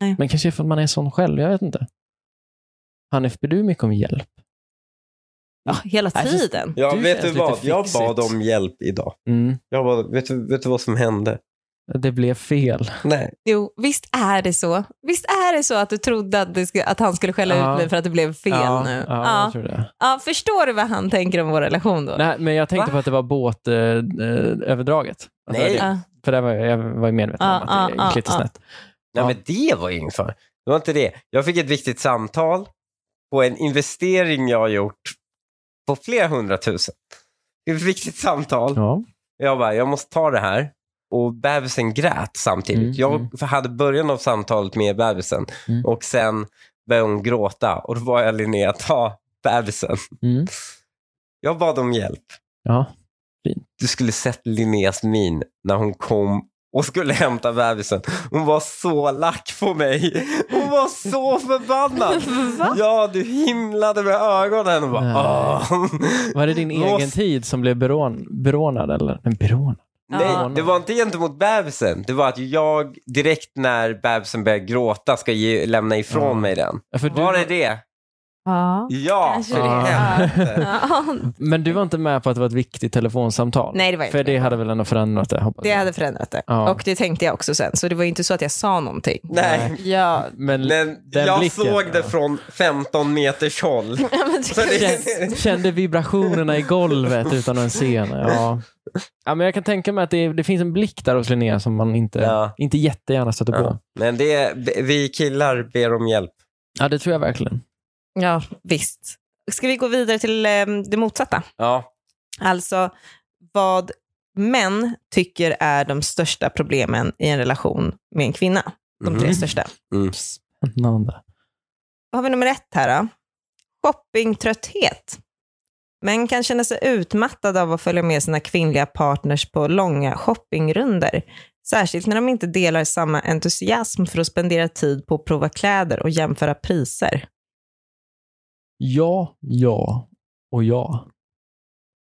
Speaker 1: Nej.
Speaker 2: Men kanske för att man är sån själv, jag vet inte. Hanif, ber du mycket om hjälp?
Speaker 1: Ja, hela
Speaker 2: Jag känns-
Speaker 1: tiden.
Speaker 3: Ja,
Speaker 2: Du
Speaker 3: vet
Speaker 2: känns
Speaker 3: du
Speaker 2: lite
Speaker 3: vad? Jag
Speaker 2: fixigt.
Speaker 3: bad om hjälp idag.
Speaker 2: Mm.
Speaker 3: Jag bad, vet, du, vet du vad som hände?
Speaker 2: Det blev fel.
Speaker 3: Nej.
Speaker 1: Jo, visst är det så. Visst är det så att du trodde att, det skulle, att han skulle skälla
Speaker 2: Ja.
Speaker 1: ut mig för att det blev fel
Speaker 2: ja,
Speaker 1: nu?
Speaker 2: Ja,
Speaker 1: Ja.
Speaker 2: jag tror det.
Speaker 1: Ja, förstår du vad han tänker om vår relation då?
Speaker 2: Nej, men jag tänkte
Speaker 1: Va?
Speaker 2: på att det var båtöverdraget. Eh, överdraget. Att det
Speaker 3: Nej.
Speaker 2: var det.
Speaker 1: Ja.
Speaker 2: För där var jag, jag var ju medveten
Speaker 1: Ja,
Speaker 2: om att det
Speaker 1: ja,
Speaker 2: gick lite
Speaker 1: ja, ja.
Speaker 2: snett.
Speaker 3: Nej,
Speaker 2: Ja.
Speaker 3: men det var ingen fara. Det var inte det. Jag fick ett viktigt samtal på en investering jag har gjort på flera hundratusen. Det var Ett viktigt samtal.
Speaker 2: Ja.
Speaker 3: Jag bara, jag måste ta det här. Och bebisen grät samtidigt.
Speaker 2: Mm,
Speaker 3: jag
Speaker 2: mm.
Speaker 3: hade början av samtalet med bebisen
Speaker 2: Mm.
Speaker 3: och sen började hon gråta. Och då var jag Linnea, ta bebisen.
Speaker 2: Mm.
Speaker 3: Jag bad om hjälp.
Speaker 2: ja.
Speaker 3: Du skulle sett Linneas min när hon kom och skulle hämta bebisen. Hon var så lack på mig. Hon var så förbannad.
Speaker 1: Va?
Speaker 3: Ja, du himlade med ögonen. Och bara,
Speaker 2: Nej.
Speaker 3: "Åh."
Speaker 2: Var det din
Speaker 3: Lås-
Speaker 2: egen tid som blev berån, berånad? Eller? Men berånad?
Speaker 3: Nej,
Speaker 1: Ja.
Speaker 3: det var inte gentemot bebisen. Det var att jag direkt när bebisen börjar gråta ska ge, lämna ifrån
Speaker 2: Mm.
Speaker 3: mig den.
Speaker 2: Ja, För
Speaker 3: Var
Speaker 2: du,
Speaker 3: är det?
Speaker 1: Ja.
Speaker 3: Ja!
Speaker 1: Kanske
Speaker 3: för
Speaker 2: det.
Speaker 3: helvete.
Speaker 1: Ja.
Speaker 2: men du var inte med på att det var ett viktigt telefonsamtal?
Speaker 1: Nej, det var jag
Speaker 2: För
Speaker 1: inte
Speaker 2: det
Speaker 1: med
Speaker 2: hade väl ändå förändrat det, hoppas
Speaker 1: Det
Speaker 2: jag.
Speaker 1: hade förändrat det.
Speaker 2: Ja.
Speaker 1: Och det tänkte jag också sen. Så det var ju inte så att jag sa någonting.
Speaker 3: Nej.
Speaker 1: Ja,
Speaker 2: Men
Speaker 3: Men
Speaker 2: Den
Speaker 3: jag
Speaker 2: blicken,
Speaker 3: såg det
Speaker 2: ja.
Speaker 3: från 15 meters håll.
Speaker 1: Ja, men det
Speaker 3: Så det-
Speaker 1: kanske-
Speaker 2: kände vibrationerna i golvet utan att ens se henne. Ja. Ja, men jag kan tänka mig att det, det finns en blick där hos Linnea som man inte,
Speaker 3: Ja.
Speaker 2: inte jättegärna stöter på.
Speaker 3: Ja. Men det är, vi killar ber om hjälp.
Speaker 2: Ja, det tror jag verkligen.
Speaker 1: ja, visst. Ska vi gå vidare till eh, det motsatta?
Speaker 3: Ja.
Speaker 1: Alltså vad män tycker är de största problemen i en relation med en kvinna. De tre
Speaker 3: Mhm.
Speaker 1: största.
Speaker 3: Mm.
Speaker 2: Spännande.
Speaker 1: Vad har vi nummer ett här då? Shoppingtrötthet. Män kan känna sig utmattade av att följa med sina kvinnliga partners på långa shoppingrunder. Särskilt när de inte delar samma entusiasm för att spendera tid på att prova kläder och jämföra priser.
Speaker 2: Ja, ja och ja.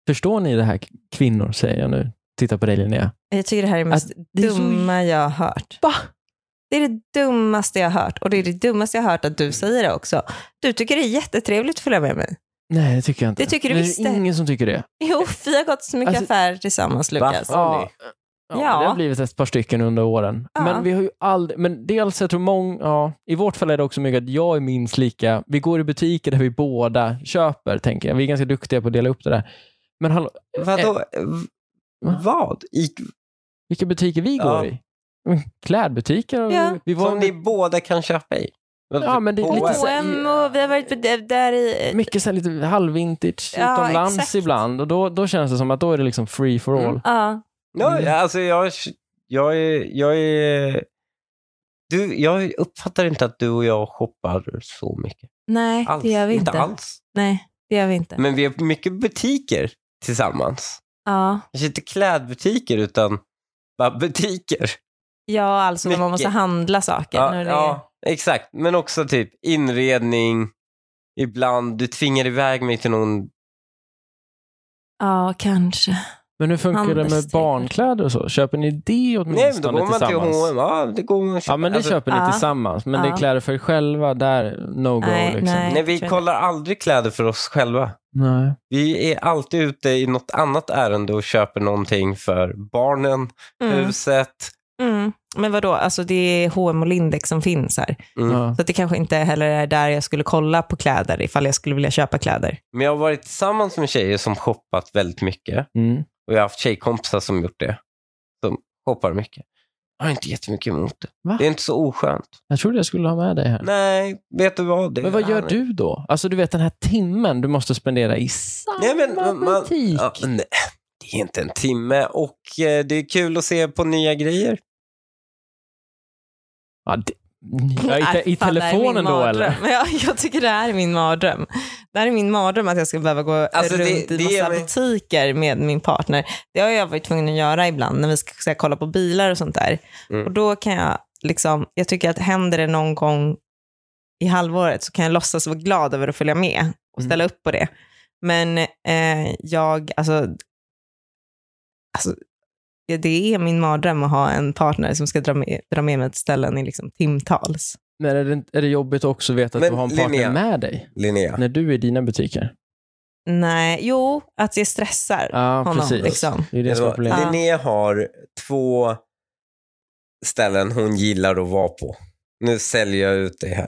Speaker 2: Förstår ni det här k- kvinnor, säger jag nu. Titta på dig Linnea.
Speaker 1: Jag tycker det här är det mest
Speaker 2: Att det är så-
Speaker 1: dumma jag har hört.
Speaker 2: Va?
Speaker 1: Det är det dummaste jag har hört. Och det är det dummaste jag har hört att du säger det också. Du tycker det är jättetrevligt att följa med mig.
Speaker 2: Nej, det tycker jag inte.
Speaker 1: Det tycker du
Speaker 2: Men
Speaker 1: visst
Speaker 2: Det
Speaker 1: det.
Speaker 2: är ingen som tycker det.
Speaker 1: Jo, vi har gått så mycket
Speaker 2: Alltså-
Speaker 1: affärer tillsammans, Lukas.
Speaker 3: Va? Har ni?
Speaker 2: Ja,
Speaker 1: Ja.
Speaker 2: Det har blivit ett par stycken under åren.
Speaker 1: Ja.
Speaker 2: Men vi har ju aldrig, men dels jag tror många, ja, i vårt fall är det också mycket att jag är minst lika, vi går i butiker där vi båda köper, tänker jag. Vi är ganska duktiga på att dela upp det där. Men hallå,
Speaker 3: Vadå?
Speaker 2: Va?
Speaker 3: Vad? I,
Speaker 2: vilka butiker vi går
Speaker 3: Ja.
Speaker 2: i? Men Klädbutiker? och-
Speaker 1: Ja.
Speaker 2: Vi var,
Speaker 3: som ni båda kan köpa i?
Speaker 2: Ja, men det är lite så-
Speaker 1: H&M och vi har varit på det- där i...
Speaker 2: mycket så här lite halvvintage
Speaker 1: Eh, Ja,
Speaker 2: utomlands
Speaker 1: exakt.
Speaker 2: ibland och då, då känns det som att då är det liksom free for all.
Speaker 3: Mm.
Speaker 1: Ja.
Speaker 3: Ja,
Speaker 2: Mm.
Speaker 3: alltså jag, jag är... Jag är du, jag uppfattar inte att du och jag shoppar så mycket.
Speaker 1: Nej,
Speaker 3: Alls.
Speaker 1: det gör vi inte.
Speaker 3: alls.
Speaker 1: Nej, det gör vi inte.
Speaker 3: Men vi har mycket butiker tillsammans.
Speaker 1: Ja.
Speaker 3: Kanske inte klädbutiker, utan bara butiker.
Speaker 1: ja, alltså när man
Speaker 3: Mycket.
Speaker 1: måste handla saker.
Speaker 3: Ja,
Speaker 1: när det...
Speaker 3: ja, exakt. Men också typ inredning. Ibland, du tvingar iväg mig till någon...
Speaker 1: ja kanske.
Speaker 2: Men hur funkar det med
Speaker 1: Handelsdräkter.
Speaker 2: barnkläder och så? Köper ni det åtminstone
Speaker 3: Nej, men då går man till
Speaker 2: tillsammans?
Speaker 3: H&M. Ja, det går man och
Speaker 2: Ja, men det
Speaker 3: alltså,
Speaker 2: köper ni
Speaker 1: Ja.
Speaker 2: tillsammans. Men det
Speaker 1: Ja.
Speaker 2: är kläder för er själva, där no go.
Speaker 1: Nej,
Speaker 2: liksom.
Speaker 1: nej.
Speaker 3: Nej, vi
Speaker 1: tror jag.
Speaker 3: kollar aldrig kläder för oss själva.
Speaker 2: nej.
Speaker 3: Vi är alltid ute i något annat ärende och köper någonting för barnen,
Speaker 1: Mm.
Speaker 3: huset.
Speaker 1: Mm. Men vadå, alltså det är H&M och Lindex som finns här.
Speaker 3: Mm.
Speaker 2: Ja.
Speaker 1: Så att det kanske inte heller är där jag skulle kolla på kläder ifall jag skulle vilja köpa kläder.
Speaker 3: Men jag har varit tillsammans med tjejer som shoppat väldigt mycket.
Speaker 2: Mm.
Speaker 3: Och jag har haft tjejkompisar som gjort det. Som shoppar mycket. Jag har inte jättemycket emot det.
Speaker 2: Va?
Speaker 3: Det är inte så oskönt.
Speaker 2: Jag trodde jag skulle ha med dig här.
Speaker 3: Nej, vet du vad? Det
Speaker 2: Men vad gör
Speaker 3: är-
Speaker 2: du då? Alltså du vet den här timmen du måste spendera i samma
Speaker 3: Nej, men man- man-
Speaker 2: butik.
Speaker 3: Ja, nej, det är inte en timme och eh, det är kul att se på nya grejer.
Speaker 2: Ja, det, ja, i, te, I
Speaker 1: Nej, fan, det här är
Speaker 2: telefonen
Speaker 1: min
Speaker 2: då
Speaker 1: mardröm.
Speaker 2: eller?
Speaker 1: Ja, jag tycker det här är min mardröm. Det här är min mardröm att jag ska behöva gå
Speaker 3: Alltså, det-
Speaker 1: runt
Speaker 3: det
Speaker 1: i
Speaker 3: ger
Speaker 1: massa
Speaker 3: mig-
Speaker 1: butiker med min partner. Det har jag varit tvungen att göra ibland när vi ska, så här, kolla på bilar och sånt där.
Speaker 3: Mm.
Speaker 1: Och då kan jag, liksom, jag tycker att händer det någon gång i halvåret så kan jag låtsas vara glad över att följa med och
Speaker 3: Mm.
Speaker 1: ställa upp på det. Men eh, jag, alltså, alltså, ja, det är min mardröm att ha en partner som ska dra med, dra med mig till ställen i liksom, timtals.
Speaker 2: Men är det, är det jobbigt att också veta att
Speaker 3: Men
Speaker 2: du har en partner
Speaker 3: Linnea.
Speaker 2: med dig?
Speaker 3: Linnea.
Speaker 2: När du är i dina butiker?
Speaker 1: Nej, jo, att jag stressar
Speaker 2: Ja,
Speaker 1: honom.
Speaker 2: precis.
Speaker 1: Liksom.
Speaker 2: Det är det som är
Speaker 3: Alltså,
Speaker 2: problemet.
Speaker 3: Linnea har två ställen hon gillar att vara på. Nu säljer jag ut det här.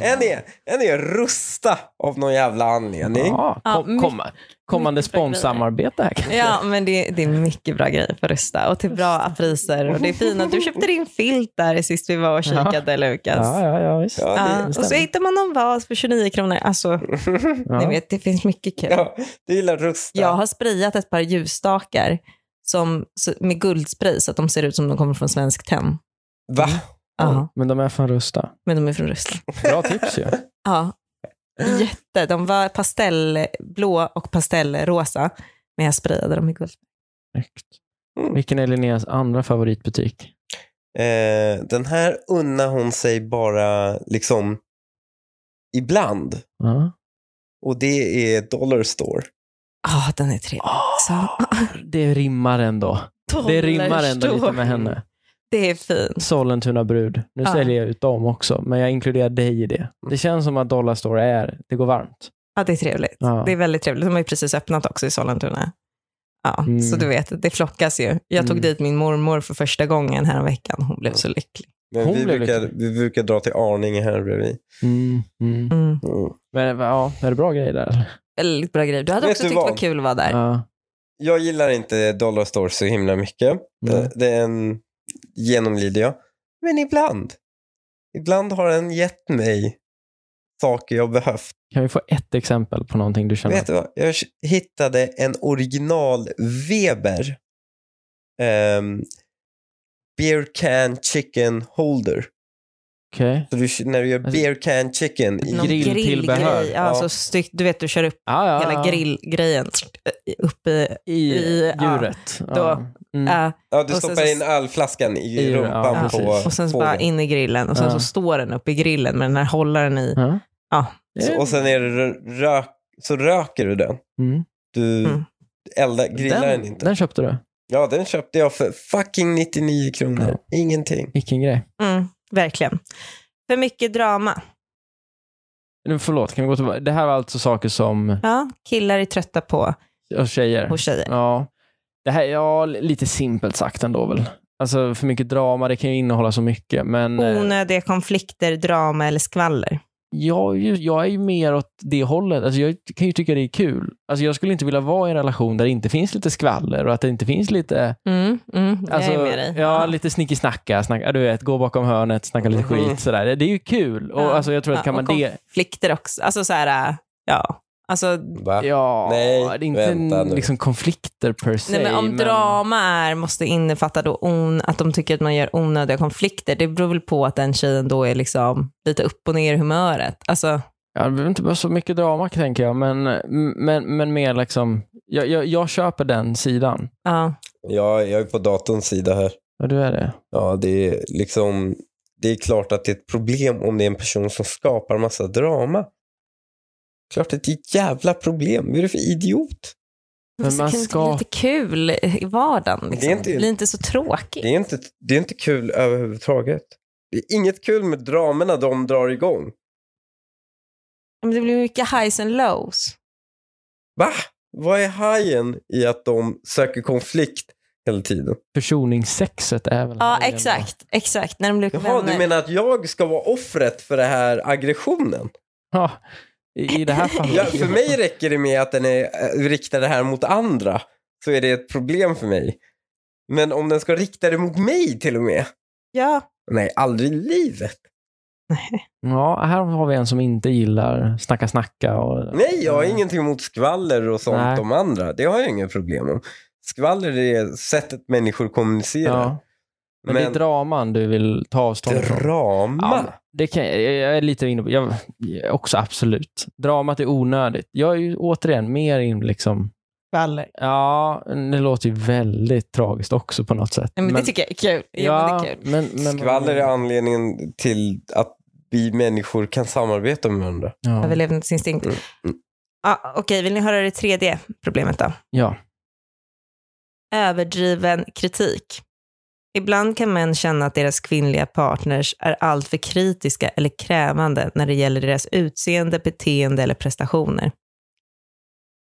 Speaker 2: Mm.
Speaker 3: En är, en är Rusta av någon jävla anledning.
Speaker 2: Ja,
Speaker 1: Ja,
Speaker 2: kom,
Speaker 1: mycket-
Speaker 2: komma, kommande
Speaker 1: mycket bra grejer.
Speaker 2: sponsamarbete här kanske.
Speaker 1: Ja, men det, det är mycket bra grejer på Rusta och till bra priser. Och det är fina. Du köpte din filt där sist vi var och kikade, Lukas.
Speaker 2: Ja, ja, ja, visst.
Speaker 3: Ja,
Speaker 1: Ja,
Speaker 3: det,
Speaker 1: och så hittar man någon vas för 29 kronor. Alltså,
Speaker 2: Ja.
Speaker 1: ni vet, det finns mycket kul.
Speaker 3: ja, du gillar Rusta.
Speaker 1: Jag har sprayat ett par ljusstakar som, så- med guldspray så att de ser ut som de kommer från Svensk Tenn.
Speaker 3: Va?
Speaker 2: Mm.
Speaker 1: Ja,
Speaker 2: Men de är från Rusta.
Speaker 1: men de är från Ryssland.
Speaker 2: Bra tips ju.
Speaker 1: Ja, jätte. De var pastellblå och pastellrosa, men jag sprayade dem i guld.
Speaker 2: Snyggt.
Speaker 3: Mm.
Speaker 2: Vilken är Linneas andra favoritbutik?
Speaker 3: Eh, den här unnar hon sig bara liksom ibland.
Speaker 2: Ja.
Speaker 3: Och det är Dollar Store.
Speaker 1: Ah. Ja, den är trevlig också.
Speaker 2: Det rimmar ändå. Det rimmar ändå lite
Speaker 1: Tollerstor.
Speaker 2: med henne.
Speaker 1: Det är fint.
Speaker 2: Sollentuna brud. Nu
Speaker 1: Ja.
Speaker 2: säljer jag ut dem också, men jag inkluderar dig i det. Det känns som att Dollarstore är, det går varmt.
Speaker 1: Ja, det är trevligt.
Speaker 2: Ja.
Speaker 1: Det är väldigt trevligt. De har ju precis öppnat också i Sollentuna. Ja,
Speaker 2: Mm.
Speaker 1: så du vet, det flockas ju. Jag tog
Speaker 2: Mm.
Speaker 1: dit min mormor för första gången här veckan. Hon blev så lycklig.
Speaker 2: Hon
Speaker 3: Men vi
Speaker 2: blev
Speaker 3: brukar,
Speaker 2: lite-
Speaker 3: vi brukar dra till Arninge här bredvid.
Speaker 2: Mm, mm.
Speaker 1: Mm.
Speaker 3: Mm.
Speaker 2: Men ja, är det bra grejer där? eller?
Speaker 1: Väldigt bra grej. Du hade
Speaker 3: Vet
Speaker 1: också
Speaker 3: du
Speaker 1: tyckt det var
Speaker 3: vad?
Speaker 1: kul att vara där.
Speaker 2: Ja.
Speaker 3: Jag gillar inte Dollar Store så himla mycket.
Speaker 2: Mm.
Speaker 3: Det, det är en, genomlider jag. Men ibland. Ibland har den gett mig saker jag behövt.
Speaker 2: Kan vi få ett exempel på någonting du känner?
Speaker 3: Vet du vad? Jag hittade en original Weber. ehm, beer can chicken holder.
Speaker 2: Okej.
Speaker 3: Så du, när du gör
Speaker 2: Alltså,
Speaker 3: beer can chicken i
Speaker 1: Någon
Speaker 2: Grilltillbehör.
Speaker 1: grillgrej. Ja,
Speaker 3: Ja.
Speaker 1: Så styck, du vet, du kör upp
Speaker 2: Ja, ja,
Speaker 1: hela
Speaker 2: ja.
Speaker 1: grillgrejen upp i... äh,
Speaker 2: I,
Speaker 1: i- ja.
Speaker 2: djuret. Ja.
Speaker 1: Då-
Speaker 2: Mm.
Speaker 1: ja,
Speaker 3: Ja, du
Speaker 1: Och sen
Speaker 3: stoppar
Speaker 1: så-
Speaker 3: in ölflaskan i,
Speaker 2: I- ja,
Speaker 1: ja,
Speaker 3: rumpan på
Speaker 2: precis.
Speaker 1: och sen så bara
Speaker 3: fågeln.
Speaker 1: in i grillen och sen
Speaker 2: Ja.
Speaker 1: så står den upp i grillen med den här hållaren i.
Speaker 2: Ja.
Speaker 1: Ja.
Speaker 3: Så, och sen är det rö- rök, så röker du den.
Speaker 2: Mm.
Speaker 3: Du
Speaker 1: Mm.
Speaker 3: eldar, grillar den, inte.
Speaker 2: den köpte du.
Speaker 3: Ja, den köpte jag för fucking 99 kronor. Ingenting.
Speaker 2: Vilken grej.
Speaker 1: Mm, verkligen. För mycket drama.
Speaker 2: Nu, förlåt, kan vi gå tillbaka? Det här var alltså saker som
Speaker 1: Ja, killar är trötta på
Speaker 2: och tjejer.
Speaker 1: hos tjejer.
Speaker 2: Ja. Det här, ja, lite simpelt sagt ändå väl. Alltså för mycket drama, det kan ju innehålla så mycket. Men eh,
Speaker 1: Onödiga konflikter, drama eller skvaller.
Speaker 2: jag, är ju- jag är ju mer åt det hållet. Alltså jag kan ju tycka det är kul. Alltså jag skulle inte vilja vara i en relation där det inte finns lite skvaller och att det inte finns lite...
Speaker 1: Mm, mm,
Speaker 2: Alltså,
Speaker 1: jag är med dig.
Speaker 2: Ja, lite snickisnacka. Snacka, du vet, gå bakom hörnet, snacka lite
Speaker 3: Mhm.
Speaker 2: skit. Sådär. Det, det är ju kul. Och
Speaker 1: Mm. Ja.
Speaker 2: alltså jag tror att
Speaker 1: Ja,
Speaker 2: kan man
Speaker 1: och
Speaker 2: det...
Speaker 1: Konflikter också. Alltså så här, äh, ja. Alltså,
Speaker 3: Va?
Speaker 2: Ja,
Speaker 3: Nej,
Speaker 2: det är inte
Speaker 3: vänta nu.
Speaker 2: liksom konflikter per se.
Speaker 1: nej, men om drama är, måste innefatta då on, att de tycker att man gör onödiga konflikter, det beror väl på att den tjejen då är liksom lite upp och ner i humöret. Alltså,
Speaker 2: Ja, det behöver inte vara så mycket drama tänker jag, men, men, men mer liksom... Jag, jag, jag köper den sidan.
Speaker 1: ja.
Speaker 3: Ja, jag är på datorns sida här.
Speaker 2: Ja, du är det.
Speaker 3: Ja, det är liksom... Det är klart att det är ett problem om det är en person som skapar massa drama. Klart att det är ett jävla problem. Vad är du för idiot?
Speaker 2: Men
Speaker 1: Fast det
Speaker 2: man
Speaker 1: kan
Speaker 2: ska-
Speaker 1: ska... lite kul i vardagen. Liksom.
Speaker 3: Det är inte-
Speaker 1: Bli inte så tråkig.
Speaker 3: Det är inte, det är inte kul överhuvudtaget. Det är inget kul med dramerna de drar igång.
Speaker 1: Men det blir mycket highs and lows.
Speaker 3: Va? Vad är hajen i att de söker konflikt hela tiden?
Speaker 2: Försoningssexet är väl...
Speaker 1: Ja,
Speaker 2: här igen
Speaker 1: exakt. Exakt. När de blir
Speaker 3: Jaha,
Speaker 1: vänner.
Speaker 3: du menar att jag ska vara offret för den här aggressionen?
Speaker 2: då. Ja, i, I det här fallet.
Speaker 3: Ja, för mig räcker det med att den är eh, riktar det här mot andra, så är det ett problem för mig. Men om den ska rikta det mot mig till och med?
Speaker 1: Ja.
Speaker 3: Nej, aldrig i livet.
Speaker 2: Ja, här har vi en som inte gillar snacka snacka. Och...
Speaker 3: Nej, jag har ingenting emot skvaller och sånt
Speaker 2: Nej.
Speaker 3: om andra. Det har jag inga problem med. Skvaller är sättet människor kommunicerar.
Speaker 2: Ja. Men, det är draman du vill ta avstånd från. Ja,
Speaker 3: drama?
Speaker 2: det kan, jag, jag är lite inne på, jag, jag- också absolut. Dramat är onödigt. Jag är ju återigen mer in liksom,
Speaker 1: Baller.
Speaker 2: ja, det låter ju väldigt tragiskt också på något sätt.
Speaker 1: Nej, men, det tycker jag är kul. Ja, men det är kul.
Speaker 2: men, men,
Speaker 3: Skvaller är anledningen till att vi människor kan samarbeta med varandra.
Speaker 2: ja.
Speaker 1: Överlevnadsinstinkt.
Speaker 3: Mm,
Speaker 1: Ja, Okej, vill ni höra det tredje problemet då?
Speaker 2: ja.
Speaker 1: Överdriven kritik. Ibland kan män känna att deras kvinnliga partners är alltför kritiska eller krävande när det gäller deras utseende, beteende eller prestationer.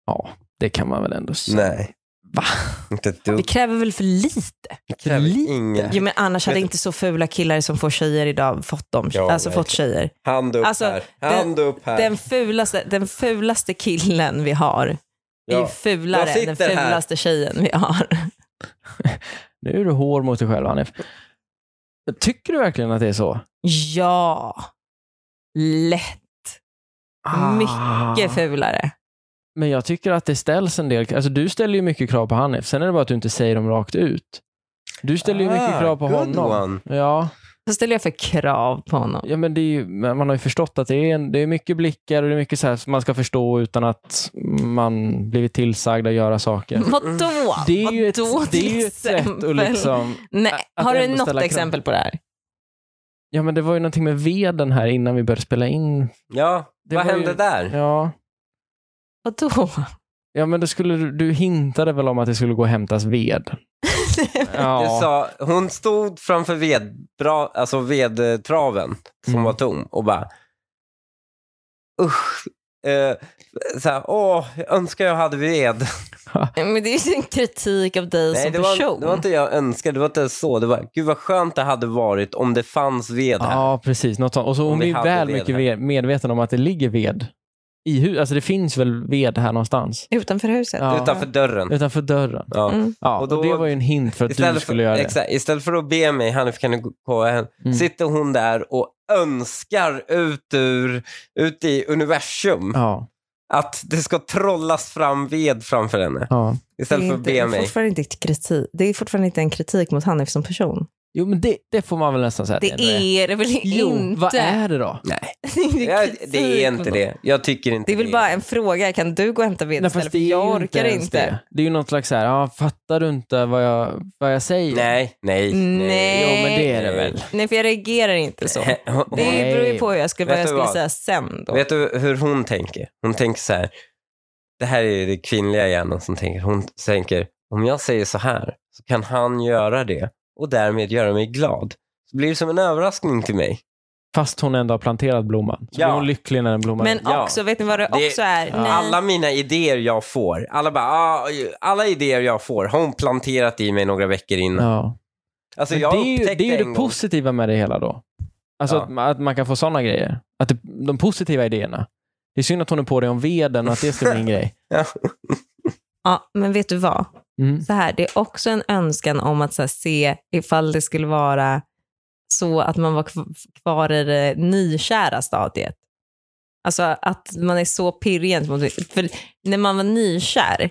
Speaker 2: ja, det kan man väl ändå säga.
Speaker 3: Nej,
Speaker 2: Va?
Speaker 3: inte ett dugg.
Speaker 1: Vi kräver väl för lite?
Speaker 3: Det kräver
Speaker 2: lite.
Speaker 3: ingen-
Speaker 1: Jo, men annars hade
Speaker 3: Vet-
Speaker 1: inte så fula killar som får tjejer idag fått, dem,
Speaker 3: Ja,
Speaker 1: alltså fått
Speaker 3: verkligen.
Speaker 1: tjejer.
Speaker 3: Hand upp
Speaker 1: Alltså,
Speaker 3: här. Hand upp här.
Speaker 1: Den fulaste, den fulaste killen vi har är ju
Speaker 3: Ja.
Speaker 1: fulare
Speaker 3: Jag
Speaker 1: än den
Speaker 3: sitter här.
Speaker 1: fulaste tjejen vi har.
Speaker 2: Nu är du hård mot dig själv, Hanif. Tycker du verkligen att det är så?
Speaker 1: Ja, lätt mycket fulare.
Speaker 2: Men jag tycker att det ställs en del, alltså du ställer ju mycket krav på Hanif, sen är det bara att du inte säger dem rakt ut. Du ställer ju mycket
Speaker 3: Ah,
Speaker 2: krav på
Speaker 3: good
Speaker 2: honom. Ja,
Speaker 1: Vad ställer jag för krav på honom?
Speaker 2: ja, men det är ju, men man har ju förstått att det är, en, det är mycket blickar och det är mycket så här som man ska förstå utan att man blivit tillsagd att göra saker.
Speaker 1: Vadå?
Speaker 2: Det är ju ett,
Speaker 1: Vadå
Speaker 2: det är
Speaker 1: Mm. till
Speaker 2: ju ett sätt att
Speaker 1: exempel?
Speaker 2: liksom...
Speaker 1: Nej,
Speaker 2: att
Speaker 1: har du
Speaker 2: ändå
Speaker 1: något
Speaker 2: ställa krav.
Speaker 1: exempel på det här?
Speaker 2: Ja, men det var ju någonting med veden här innan vi började spela in.
Speaker 3: Ja,
Speaker 2: Det
Speaker 3: vad
Speaker 2: var
Speaker 3: hände
Speaker 2: ju-
Speaker 3: där?
Speaker 2: Ja,
Speaker 1: Vadå?
Speaker 2: ja men då skulle du, du hintade väl om att det skulle gå och hämtas ved.
Speaker 3: Du
Speaker 2: Ja.
Speaker 3: sa, hon stod framför vedbra, alltså vedtraven som
Speaker 2: Mm.
Speaker 3: var tom och bara usch. Eh, såhär, åh, jag önskar jag hade ved.
Speaker 1: Men det är ju en kritik av dig som
Speaker 3: det var,
Speaker 1: person.
Speaker 3: det var inte jag önskade, det var inte så. Det var, gud vad skönt det hade varit om det fanns ved här.
Speaker 2: ja, precis. Något sånt. Och så
Speaker 3: Om
Speaker 2: hon är
Speaker 3: vi
Speaker 2: ju
Speaker 3: hade
Speaker 2: väl
Speaker 3: ved
Speaker 2: mycket
Speaker 3: här.
Speaker 2: ve- medveten om att det ligger ved i huset. Alltså det finns väl ved här någonstans?
Speaker 1: Utanför huset.
Speaker 2: Ja.
Speaker 3: Utanför dörren.
Speaker 2: Utanför dörren.
Speaker 3: Ja.
Speaker 1: Mm.
Speaker 2: Ja,
Speaker 3: Och
Speaker 2: och,
Speaker 3: då-
Speaker 2: det var ju en hint för att du
Speaker 3: Istället
Speaker 2: skulle
Speaker 3: för,
Speaker 2: göra det.
Speaker 3: exakt, istället för att be mig, Hanif kan du gå hem,
Speaker 2: Mm.
Speaker 3: sitter hon där och önskar ut, ur, ut i universum
Speaker 2: Ja,
Speaker 3: att det ska trollas fram ved framför henne.
Speaker 2: ja.
Speaker 1: Det är
Speaker 3: Istället för att
Speaker 1: inte,
Speaker 3: be mig.
Speaker 1: fortfarande inte kritik. det är fortfarande inte en kritik mot Hanif som person.
Speaker 2: Jo, men det, det får man väl nästan säga. att
Speaker 1: Det
Speaker 2: ändå
Speaker 1: är det väl
Speaker 2: Jo,
Speaker 1: inte?
Speaker 2: vad är det då?
Speaker 3: Nej,
Speaker 1: Det är,
Speaker 3: jag,
Speaker 1: kritik
Speaker 3: det är
Speaker 1: mot
Speaker 3: inte
Speaker 1: honom.
Speaker 3: det. Jag tycker inte
Speaker 1: Det är väl
Speaker 3: det.
Speaker 1: bara en fråga. Kan du gå och hämta ved
Speaker 2: Nej,
Speaker 1: istället?
Speaker 2: fast
Speaker 1: För
Speaker 2: det är
Speaker 1: jag
Speaker 2: ju
Speaker 1: orkar
Speaker 2: ens
Speaker 1: inte.
Speaker 2: Det. det är ju något slags så här, ja, fattar du inte vad jag, vad jag säger?
Speaker 3: Nej, nej,
Speaker 1: Nej.
Speaker 2: Jo, men det är det väl.
Speaker 1: Nej, för jag reagerar inte så.
Speaker 3: Hon,
Speaker 1: Det
Speaker 2: Nej.
Speaker 1: beror ju på hur jag skulle, vad
Speaker 3: Vet
Speaker 1: jag
Speaker 3: du
Speaker 1: skulle
Speaker 3: vad?
Speaker 1: säga sen då.
Speaker 3: vet du hur hon tänker? Hon tänker så här. Det här är det kvinnliga hjärnan som tänker. Hon tänker, om jag säger så här så kan han göra det och därmed göra mig glad. Så blir det som en överraskning till mig.
Speaker 2: Fast hon ändå har planterat blomman. Så
Speaker 3: Ja.
Speaker 2: blir hon lycklig när den blommar.
Speaker 1: Men
Speaker 2: ut.
Speaker 3: Ja.
Speaker 1: också, vet ni vad det
Speaker 3: Det-
Speaker 1: också är?
Speaker 2: Ja.
Speaker 1: Nej.
Speaker 3: Alla mina idéer jag får, alla, bara, ah, alla idéer jag får har hon planterat i mig några veckor innan.
Speaker 2: ja.
Speaker 3: Alltså,
Speaker 2: men det
Speaker 3: jag
Speaker 2: är ju
Speaker 3: upptäckte
Speaker 2: det, är ju
Speaker 3: en
Speaker 2: det
Speaker 3: gång-
Speaker 2: positiva med det hela då. Alltså
Speaker 3: Ja.
Speaker 2: att, ma- att man kan få sådana grejer. Att det, de positiva idéerna. Det är synd att hon är på det om veden och att det ska bli en grej.
Speaker 1: Ja, men vet du vad?
Speaker 2: Mm.
Speaker 1: Så här, det är också en önskan om att så här, se ifall det skulle vara så att man var kv- kvar i det nykära stadiet. Alltså att man är så pirrig gentemot... För när man var nykär,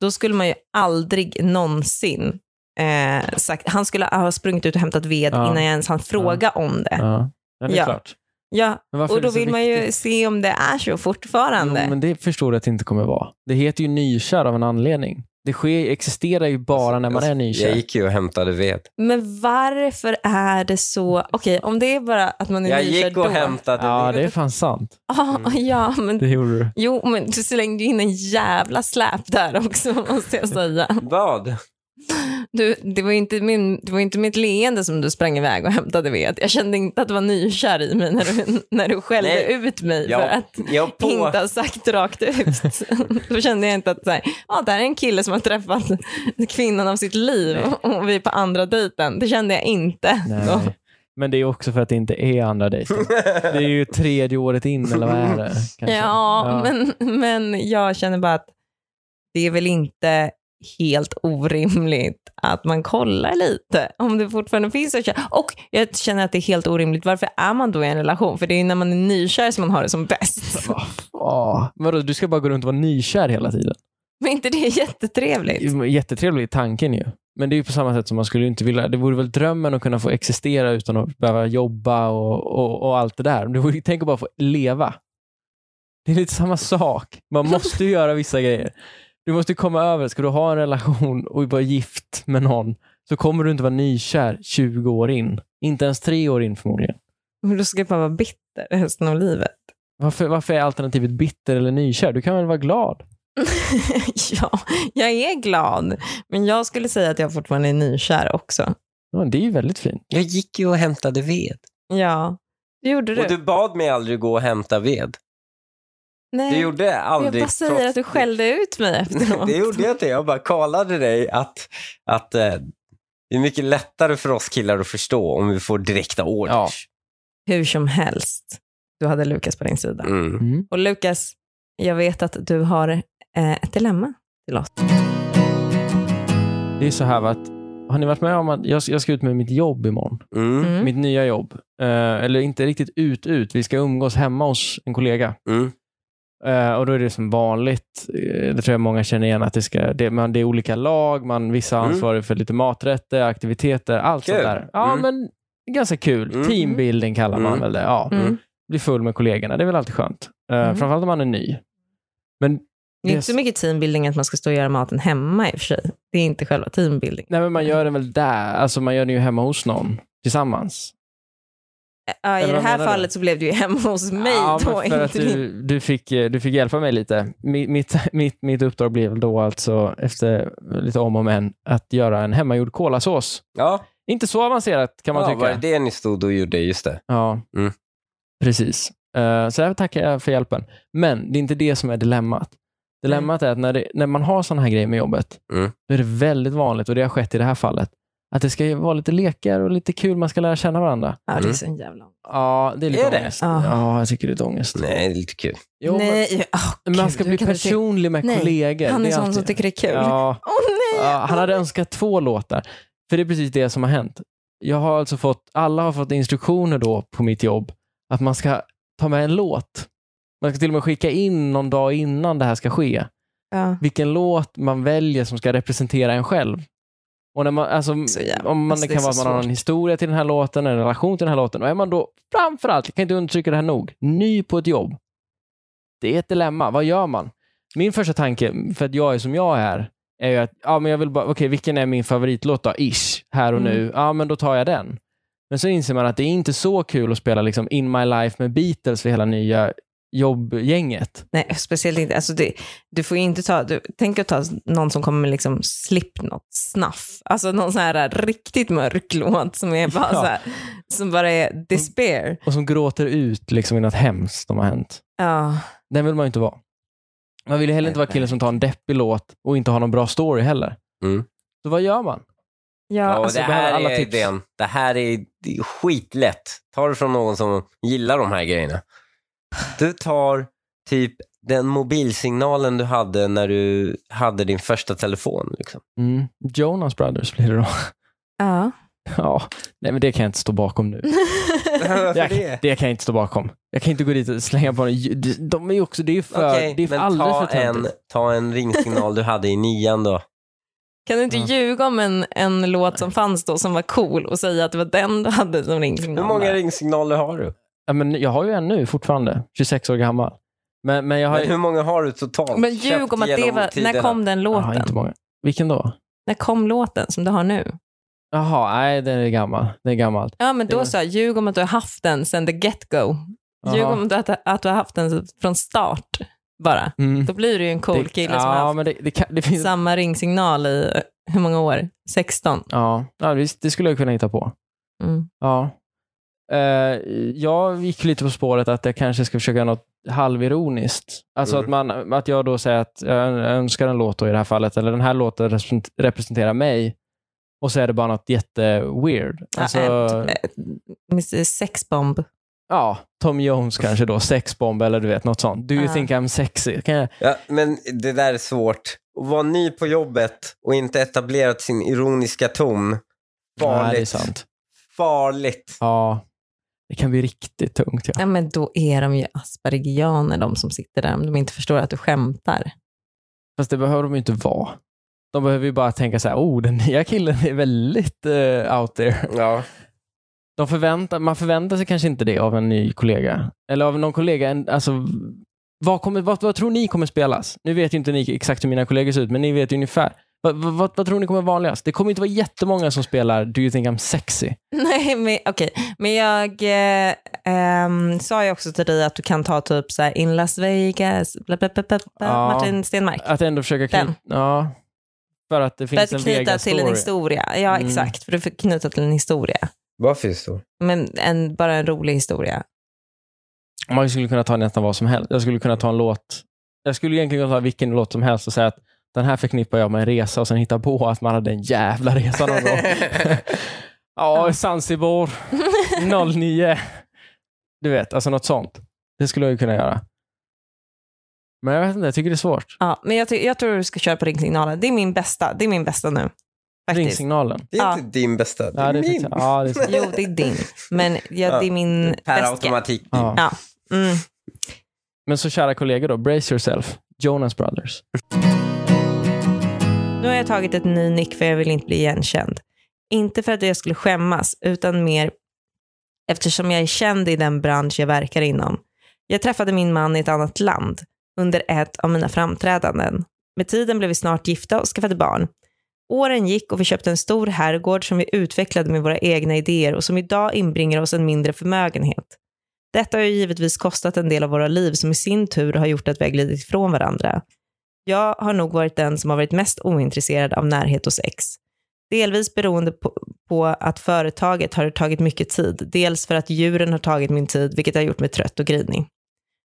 Speaker 1: då skulle man ju aldrig någonsin eh, sagt... Han skulle ha sprungit ut och hämtat ved
Speaker 2: Ja.
Speaker 1: innan jag ens hann fråga om det.
Speaker 2: Ja. ja, det är
Speaker 1: Ja.
Speaker 2: klart.
Speaker 1: Ja,
Speaker 2: Men varför
Speaker 1: och
Speaker 2: är det
Speaker 1: då
Speaker 2: så
Speaker 1: vill man ju
Speaker 2: viktigt?
Speaker 1: se om det är så
Speaker 2: Jo,
Speaker 1: fortfarande.
Speaker 2: men det förstår du att det inte kommer vara. Det heter ju nykär av en anledning. Det sker, existerar ju bara när man är nykär.
Speaker 3: Alltså, Jag gick ju och hämtade ved.
Speaker 1: Men varför är det så... Okej, om det är bara att man är
Speaker 3: Jag
Speaker 1: nykär
Speaker 3: gick och
Speaker 1: då.
Speaker 3: hämtade
Speaker 2: Ja,
Speaker 3: ved.
Speaker 2: det är fan sant.
Speaker 1: Ja, ja, men...
Speaker 2: Det gjorde du.
Speaker 1: Jo, men du slängde ju in en jävla släp där också, måste jag säga.
Speaker 3: Vad?
Speaker 1: Du, det, var ju inte min, det var ju inte mitt leende som du sprang iväg och hämtade ved. Jag kände inte att du var nykär i mig när du, när du skällde
Speaker 3: Nej.
Speaker 1: ut mig för
Speaker 3: Jag,
Speaker 1: att
Speaker 3: jag på...
Speaker 1: inte ha sagt rakt ut. Då kände jag inte att så här, ja, det här är en kille som har träffat kvinnan av sitt liv och vi är på andra dejten. Det kände jag inte. Då.
Speaker 2: Nej. Men det är också för att det inte är andra dejten. Det är ju tredje året in, eller vad är det?
Speaker 1: Ja,
Speaker 2: Kanske.
Speaker 1: Men, men jag känner bara att det är väl inte helt orimligt att man kollar lite om det fortfarande finns att köra. Och jag känner att det är helt orimligt. Varför är man då i en relation? För det är ju när man är nykär som man har det som bäst.
Speaker 2: Åh, Vadå, du ska bara gå runt och vara nykär hela tiden?
Speaker 1: Men inte det är jättetrevligt?
Speaker 2: Jättetrevlig i tanken ju. Men det är ju på samma sätt som man skulle ju inte vilja. Det vore väl drömmen att kunna få existera utan att behöva jobba och, och, och allt det där. Men det vore, tänk att bara få leva. Det är lite samma sak. Man måste ju göra vissa grejer. Du måste ju komma över. Ska du ha en relation och vara gift med någon så kommer du inte vara nykär 20 år in. Inte ens tre år in förmodligen.
Speaker 1: Men då ska jag bara vara bitter resten av livet.
Speaker 2: Varför, varför är alternativet bitter eller nykär? Du kan väl vara glad?
Speaker 1: ja, jag är glad. Men jag skulle säga att jag fortfarande är nykär också.
Speaker 2: Ja, det är ju väldigt fint.
Speaker 3: Jag gick ju och hämtade ved.
Speaker 1: Ja, det gjorde du.
Speaker 3: Och du bad mig aldrig gå och hämta ved.
Speaker 1: Nej,
Speaker 3: Du gjorde
Speaker 1: jag
Speaker 3: aldrig...
Speaker 1: bara säger
Speaker 3: trots-
Speaker 1: att du skällde ut mig efteråt.
Speaker 3: Det gjorde jag inte. Jag bara kollade dig att, att eh, det är mycket lättare för oss killar att förstå om vi får direkta orders.
Speaker 1: Hur som helst, du hade Lukas på din sida.
Speaker 3: Mm.
Speaker 1: Och Lukas, jag vet att du har eh, ett dilemma.
Speaker 2: Det är så här va, att har ni varit med om att jag, jag ska ut med mitt jobb imorgon?
Speaker 3: Mm.
Speaker 1: Mm.
Speaker 2: Mitt nya jobb. Eh, eller inte riktigt ut, ut. Vi ska umgås hemma hos en kollega.
Speaker 3: Mm.
Speaker 2: Eh, och då är det som vanligt, eh, det tror jag många känner igen, att det, ska, det, man, det är olika lag, man, vissa
Speaker 3: Mm.
Speaker 2: ansvarar för lite maträtter, aktiviteter, allt
Speaker 3: Kul.
Speaker 2: sånt där. Ja,
Speaker 3: Mm.
Speaker 2: men ganska kul.
Speaker 3: Mm.
Speaker 2: Teambuilding kallar man
Speaker 3: Mm.
Speaker 2: väl det. Ja.
Speaker 1: Mm.
Speaker 3: Mm.
Speaker 2: Bli full med kollegorna, det är väl alltid skönt. Eh,
Speaker 1: Mm.
Speaker 2: Framförallt om man är ny. Men
Speaker 1: Det är
Speaker 2: Yes.
Speaker 1: inte så mycket teambuilding att man ska stå och göra maten hemma i och för sig. Det är inte själva teambuilding.
Speaker 2: Nej,
Speaker 3: Mm.
Speaker 2: men man gör den väl där. Alltså man gör den ju hemma hos någon tillsammans.
Speaker 1: Ja, I
Speaker 2: Eller
Speaker 1: det
Speaker 2: vad
Speaker 1: här
Speaker 2: menar du?
Speaker 1: fallet så blev du ju hemma hos mig
Speaker 2: ja,
Speaker 1: då.
Speaker 2: men för att
Speaker 1: inte din-
Speaker 2: du, du, fick, eh, du fick hjälpa mig lite. Mi- Mitt, mitt, mitt uppdrag blev då alltså, efter lite om och men, att göra en hemmagjord kolasås.
Speaker 3: Ja,
Speaker 2: Inte så avancerat kan man
Speaker 3: ja
Speaker 2: tycka.
Speaker 3: var det det ni stod och gjorde? Just det.
Speaker 2: Ja,
Speaker 3: Mm.
Speaker 2: precis. Eh, Så jag tackar jag för hjälpen. Men det är inte det som är dilemmat. Dilemmat är att när, det, när man har sådana här grejer med jobbet,
Speaker 3: Mm.
Speaker 2: då är det väldigt vanligt, och det har skett i det här fallet, att det ska ju vara lite lekar och lite kul, man ska lära känna varandra.
Speaker 1: Ja, det är
Speaker 3: Mm.
Speaker 1: så jävla...
Speaker 2: Ja, det är lite
Speaker 3: Är det?
Speaker 2: ångest.
Speaker 1: Ja.
Speaker 2: Ja, jag tycker det är lite ångest.
Speaker 3: Nej, det är lite kul.
Speaker 2: Jo,
Speaker 1: Nej, åh,
Speaker 2: men, man ska
Speaker 1: gud,
Speaker 2: bli
Speaker 1: hur kan du tycka-
Speaker 2: personlig med
Speaker 1: Nej,
Speaker 2: kollegor.
Speaker 1: Han
Speaker 2: det
Speaker 1: är sån
Speaker 2: alltid-
Speaker 1: som tycker det är kul. Åh
Speaker 2: Ja.
Speaker 1: nej!
Speaker 2: Ja, han hade önskat två låtar. För det är precis det som har hänt. Jag har alltså fått, alla har fått instruktioner då på mitt jobb att man ska ta med en låt. Man ska till och med skicka in någon dag innan det här ska ske.
Speaker 1: Ja.
Speaker 2: Vilken låt man väljer som ska representera en själv. Och när man, alltså,
Speaker 1: Så jävla-
Speaker 2: om man,
Speaker 1: alltså,
Speaker 2: det
Speaker 1: det
Speaker 2: kan
Speaker 1: är
Speaker 2: vara att
Speaker 1: så
Speaker 2: man har en
Speaker 1: svårt.
Speaker 2: historia till den här låten, en relation till den här låten. Och är man då framförallt, jag kan inte understryka det här nog, ny på ett jobb. Det är ett dilemma. Vad gör man? Min första tanke, för att jag är som jag är, är ju att ja, men jag vill bara, okej, vilken är min favoritlåt då? Ish, här
Speaker 1: Mm.
Speaker 2: och nu. Ja, men då tar jag den. Men så inser man att det är inte så kul att spela liksom In My Life med Beatles för hela nya jobbgänget.
Speaker 1: Nej, speciellt inte. Alltså det, du får ju inte ta, du, tänk att ta någon som kommer med liksom Slipknot, Snuff, alltså någon sån här riktigt mörk låt som är bara
Speaker 2: Ja.
Speaker 1: så här, som bara är despair.
Speaker 2: Och som gråter ut liksom i något hemskt som har hänt.
Speaker 1: Ja,
Speaker 2: Den vill man ju inte vara. Man vill ju heller inte vara killen som tar en deppig låt och inte har någon bra story heller.
Speaker 3: Mm.
Speaker 2: Så vad gör man?
Speaker 1: ja,
Speaker 3: Ja,
Speaker 1: alltså,
Speaker 3: det
Speaker 2: behöver
Speaker 3: här
Speaker 2: alla
Speaker 3: är
Speaker 2: tips.
Speaker 3: idén. Det här är det är skitlätt. Ta det från någon som gillar de här grejerna. Du tar typ den mobilsignalen du hade när du hade din första telefon. Liksom.
Speaker 2: Mm. Jonas Brothers blir det då.
Speaker 1: ja.
Speaker 2: Ja. Nej, men det kan jag inte stå bakom nu.
Speaker 3: Varför
Speaker 2: Det, det kan jag inte stå bakom. Jag kan inte gå dit och slänga på dem. De är ju också, det är ju för,
Speaker 3: Okej,
Speaker 2: det är för
Speaker 3: men
Speaker 2: alldeles för
Speaker 3: ta en,
Speaker 2: töntigt.
Speaker 3: ta en ringsignal du hade i nian då.
Speaker 1: Kan du inte
Speaker 2: Ja.
Speaker 1: ljuga om en, en låt som fanns då som var cool och säga att det var den du hade som ringsignal?
Speaker 3: Hur många
Speaker 1: där?
Speaker 3: ringsignaler har du?
Speaker 2: Ja, men jag har ju en nu fortfarande, 26 år gammal. Men, men jag har
Speaker 3: Men
Speaker 2: ju...
Speaker 3: hur många har du totalt?
Speaker 1: Men ljug
Speaker 3: köpt
Speaker 1: om att det
Speaker 3: genom
Speaker 1: var, när
Speaker 3: tiderna?
Speaker 1: kom den
Speaker 2: Jaha,
Speaker 1: låten?
Speaker 2: inte många. Vilken då?
Speaker 1: När kom låten som du har nu?
Speaker 2: Jaha, nej den är gammal. Den är gammal.
Speaker 1: Ja, men
Speaker 2: Det
Speaker 1: då
Speaker 2: var-
Speaker 1: sa jag, ljug om att du har haft den sen the get-go. Ljug
Speaker 2: Jaha.
Speaker 1: om att, att du har haft den från start bara.
Speaker 2: Mm.
Speaker 1: Då blir du ju en cool
Speaker 2: det,
Speaker 1: kille
Speaker 2: ja,
Speaker 1: som har haft
Speaker 2: men det, det, kan, det finns,
Speaker 1: samma ringsignal i eh, hur många år? 16?
Speaker 2: Ja, ja visst, det skulle jag kunna hitta på.
Speaker 1: Mm.
Speaker 2: Ja. Eh, jag gick lite på spåret att jag kanske ska försöka göra något halvironiskt. Alltså
Speaker 3: Mm.
Speaker 2: att, man, att jag då säger att jag önskar en låt då i det här fallet, eller den här låten represent- representerar mig. Och så är det bara något jätte-weird. Alltså,
Speaker 1: Ja, äh, äh, Mr Sexbomb.
Speaker 2: ja, Tom Jones kanske då, sexbomb eller du vet, något sånt. Do you
Speaker 1: Ja.
Speaker 2: think I'm sexy? Kan jag,
Speaker 3: Ja, men det där är svårt. Att vara ny på jobbet och inte etablerat sin ironiska ton.
Speaker 2: Nej, det är
Speaker 3: Farligt.
Speaker 2: sant.
Speaker 3: Farligt.
Speaker 2: Ja, det kan bli riktigt tungt. Ja.
Speaker 1: Ja, men då är de ju aspergianer de som sitter där, om de inte förstår att du skämtar.
Speaker 2: Fast det behöver de ju inte vara. De behöver ju bara tänka så här, oh, den nya killen är väldigt eh, out there.
Speaker 3: Ja.
Speaker 2: De förväntar, man förväntar sig kanske inte det av en ny kollega. Eller av någon kollega. En, alltså, vad, kommer, vad, vad tror ni kommer spelas? Nu vet ju inte ni exakt hur mina kollegor ser ut, men ni vet ju ungefär. Vad, vad, vad, vad tror ni kommer vara vanligast? Det kommer inte vara jättemånga som spelar Do you think I'm sexy?
Speaker 1: Nej, men okej. Men jag eh, ehm, sa ju också till dig att du kan ta typ så här in Las Vegas, bla bla bla, bla, bla,
Speaker 2: Ja.
Speaker 1: Martin Stenmark.
Speaker 2: Att ändå försöka knyta...
Speaker 1: Den.
Speaker 2: Ja. För att det
Speaker 1: För
Speaker 2: finns
Speaker 1: att
Speaker 2: en
Speaker 1: knyta till en
Speaker 2: Vegas-story.
Speaker 1: historia. Ja,
Speaker 2: Mm.
Speaker 1: exakt. För att knyta till en historia.
Speaker 3: Vad finns det?
Speaker 1: Men en, bara en rolig historia.
Speaker 2: Man skulle kunna ta nästan vad som helst. Jag skulle kunna ta en låt. Jag skulle egentligen kunna ta vilken låt som helst och säga att den här förknippar jag med en resa och sen hitta på att man hade en jävla resa någon gång. ja, Zanzibar 09. Du vet, alltså något sånt. Det skulle jag ju kunna göra. Men jag vet inte, jag tycker det är svårt.
Speaker 1: Ja, men jag, ty- jag tror du ska köra på ringsignalen. Det är min bästa. Det är min bästa nu. Faktiskt.
Speaker 2: Ringsignalen.
Speaker 3: Det är
Speaker 1: Ja.
Speaker 3: inte din bästa, det är
Speaker 2: Ja, det är
Speaker 3: min.
Speaker 2: faktiskt- ja, det är sant.
Speaker 1: Jo, det är din. Men jag, det är min
Speaker 3: Per
Speaker 1: Mm, bästa.
Speaker 3: automatik. din.
Speaker 2: ja.
Speaker 1: Mm.
Speaker 2: Men så kära kollegor då, brace yourself. Jonas Brothers.
Speaker 1: Nu har jag tagit ett ny nick för jag vill inte bli igenkänd. Inte för att jag skulle skämmas, utan mer eftersom jag är känd i den bransch jag verkar inom. Jag träffade min man i ett annat land under ett av mina framträdanden. Med tiden blev vi snart gifta och skaffade barn. Åren gick och vi köpte en stor herrgård som vi utvecklade med våra egna idéer och som idag inbringar oss en mindre förmögenhet. Detta har ju givetvis kostat en del av våra liv som i sin tur har gjort att vi har glidit ifrån varandra. Jag har nog varit den som har varit mest ointresserad av närhet och sex. Delvis beroende på, på att företaget har tagit mycket tid, dels för att djuren har tagit min tid, vilket har gjort mig trött och grinig.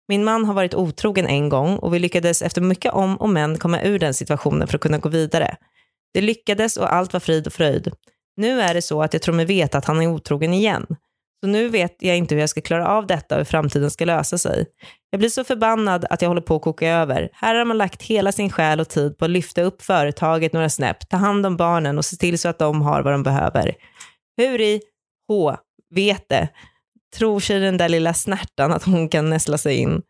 Speaker 1: Min man har varit otrogen en gång och vi lyckades efter mycket om och men komma ur den situationen för att kunna gå vidare. Det lyckades och allt var frid och fröjd. Nu är det så att jag tror mig veta att han är otrogen igen. Så nu vet jag inte hur jag ska klara av detta och hur framtiden ska lösa sig. Jag blir så förbannad att jag håller på att koka över. Här har man lagt hela sin själ och tid på att lyfta upp företaget några snäpp, ta hand om barnen och se till så att de har vad de behöver. Hur i H vet det? Tror sig den där lilla snärtan att hon kan näsla sig in.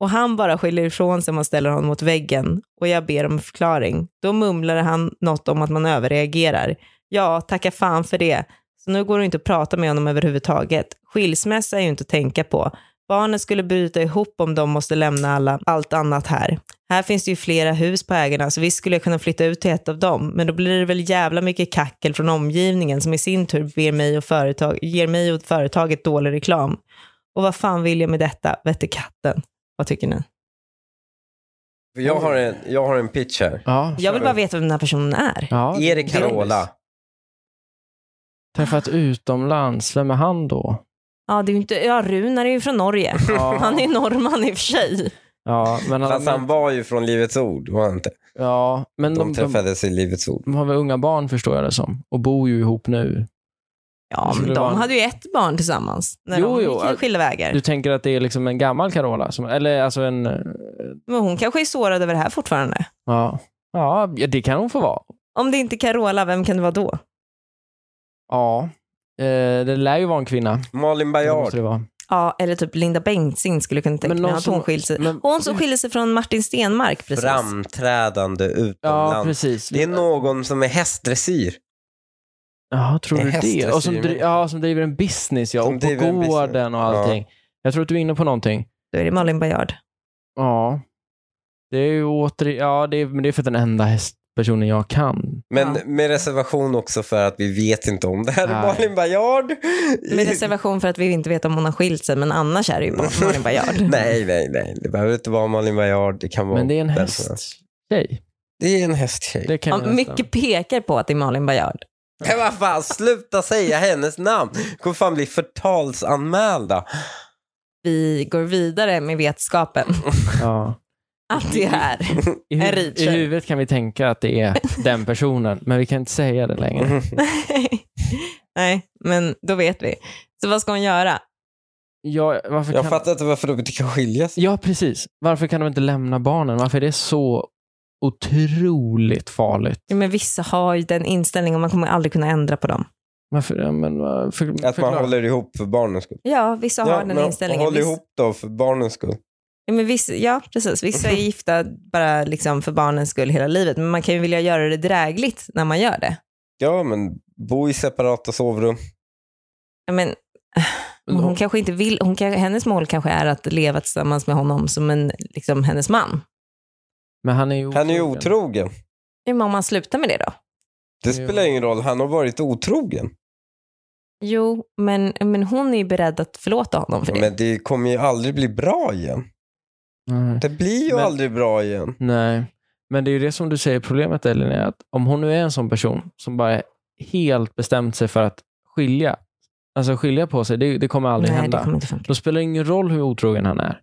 Speaker 1: Och han bara skiljer ifrån sig om man ställer honom mot väggen och jag ber om en förklaring. Då mumlar han något om att man överreagerar. Ja, tacka fan för det. Så nu går det inte att prata med honom överhuvudtaget. Skilsmässa är ju inte att tänka på. Barnen skulle bryta ihop om de måste lämna alla, allt annat här. Här finns det ju flera hus på ägarna så visst skulle jag kunna flytta ut till ett av dem men då blir det väl jävla mycket kackel från omgivningen som i sin tur ger mig och, företag, ger mig och företaget dålig reklam. Och vad fan vill jag med detta, vette katten? Vad tycker ni?
Speaker 3: Jag har en, jag har en pitch här.
Speaker 2: Ja.
Speaker 1: Jag vill bara veta vem den här personen är.
Speaker 2: ja.
Speaker 3: Erik Carola.
Speaker 2: Träffat utomlands, vem är han då?
Speaker 1: Ja, det är ju inte, ja Runar är ju från Norge.
Speaker 2: Ja.
Speaker 1: Han är norrman i och för sig.
Speaker 2: Ja, men, han,
Speaker 3: Fast han var ju från Livets Ord, var han inte?
Speaker 2: ja, men de,
Speaker 3: De
Speaker 2: de,
Speaker 3: träffades i Livets Ord.
Speaker 2: de har väl unga barn förstår jag det som och bor ju ihop nu.
Speaker 1: Ja,
Speaker 2: Det skulle
Speaker 1: men
Speaker 2: vara
Speaker 1: de
Speaker 2: en-
Speaker 1: hade ju ett barn tillsammans när
Speaker 2: Jo,
Speaker 1: de
Speaker 2: jo,
Speaker 1: gick
Speaker 2: att-
Speaker 1: skilda vägar.
Speaker 2: Du tänker att det är liksom en gammal Carola? Som, eller alltså en... eh,
Speaker 1: Men hon kanske är sårad över det här fortfarande.
Speaker 2: Ja. ja, det kan hon få vara.
Speaker 1: Om det inte är Carola, vem kan det vara då?
Speaker 2: Ja. Eh, det lär ju vara en kvinna.
Speaker 3: Malin
Speaker 2: Det
Speaker 3: Baryard.
Speaker 2: måste det vara.
Speaker 1: Ja, eller typ Linda Bengtzing skulle jag kunna tänka
Speaker 2: Men
Speaker 1: mig
Speaker 2: någon
Speaker 1: att
Speaker 2: som-
Speaker 1: hon skiljer sig.
Speaker 2: men-
Speaker 1: Hon som skiljer sig från Martin Stenmark precis.
Speaker 3: Framträdande
Speaker 2: Ja,
Speaker 3: utomlands.
Speaker 2: precis.
Speaker 3: det är någon som är hästdressyr.
Speaker 2: Ja, tror
Speaker 3: En
Speaker 2: du
Speaker 3: hästdressyr,
Speaker 2: det? Och som, dri-
Speaker 3: men-
Speaker 2: ja, som driver en business, ja.
Speaker 3: Som
Speaker 2: Och på
Speaker 3: driver en business.
Speaker 2: gården och
Speaker 3: Ja.
Speaker 2: allting. Jag tror att du är inne på någonting.
Speaker 1: Då är det Malin Baryard.
Speaker 2: Ja. Det är ju åter... Ja, det är, men det är för den enda hästpersonen jag kan.
Speaker 3: Men
Speaker 1: Ja.
Speaker 3: med reservation också för att vi vet inte om det här är
Speaker 2: Nej.
Speaker 3: Malin Baryard.
Speaker 1: Med reservation för att vi inte vet om hon har skilt sig, men annars är det ju Mal- Malin Baryard.
Speaker 3: nej, nej, nej. Det behöver inte vara Malin Baryard. Det kan vara
Speaker 2: Men det är en
Speaker 3: den som-
Speaker 2: hästtjej.
Speaker 3: Det är en hästtjej.
Speaker 2: Det kan
Speaker 1: Ja,
Speaker 2: jag nästan-
Speaker 1: mycket pekar på att det är Malin Baryard.
Speaker 3: Men vad fan, sluta säga hennes namn. Kommer fan bli förtalsanmälda.
Speaker 1: Vi går vidare med vetskapen
Speaker 2: Ja.
Speaker 1: att det är.
Speaker 2: I, huv-
Speaker 1: En ridsjö.
Speaker 2: I huvudet kan vi tänka att det är den personen, men vi kan inte säga det längre.
Speaker 1: Nej, men då vet vi. Så vad ska hon göra?
Speaker 2: Ja, varför
Speaker 3: Jag
Speaker 2: kan...
Speaker 3: fattar inte varför de inte kan skilja sig.
Speaker 2: ja, precis. Varför kan de inte lämna barnen? Varför är det så otroligt farligt?
Speaker 1: Ja, men vissa har ju den inställningen och man kommer aldrig kunna ändra på dem.
Speaker 2: Varför, ja, men, uh, för,
Speaker 3: Att man
Speaker 2: förklara.
Speaker 3: håller ihop för barnens skull.
Speaker 1: Ja, vissa har den
Speaker 3: men
Speaker 1: inställningen.
Speaker 3: Håll
Speaker 1: Vissa-
Speaker 3: ihop då för barnens skull.
Speaker 1: Ja, men vissa, ja, precis. Vissa är gifta bara liksom för barnens skull hela livet, men man kan ju vilja göra det drägligt när man gör det.
Speaker 3: Ja, men bo i separata sovrum.
Speaker 1: Ja, men, hon kanske inte vill, hon kan, hennes mål kanske är att leva tillsammans med honom som en, liksom, hennes man.
Speaker 2: Men han är ju otrogen.
Speaker 3: Han är ju otrogen.
Speaker 1: Ja, men om man slutar med det då?
Speaker 3: Det
Speaker 2: Jo.
Speaker 3: spelar ingen roll, han har varit otrogen.
Speaker 1: Jo, men, men hon är ju beredd att förlåta honom för det.
Speaker 3: Men det kommer ju aldrig bli bra igen.
Speaker 2: Nej.
Speaker 3: Det blir ju
Speaker 2: Men-
Speaker 3: aldrig bra igen.
Speaker 2: Nej, men det är ju det som du säger problemet Elin, är att om hon nu är en sån person som bara helt bestämt sig för att skilja, alltså skilja på sig, det, det kommer aldrig
Speaker 1: Nej,
Speaker 2: hända.
Speaker 1: det kommer inte funka.
Speaker 2: Då spelar det ingen roll hur otrogen han är.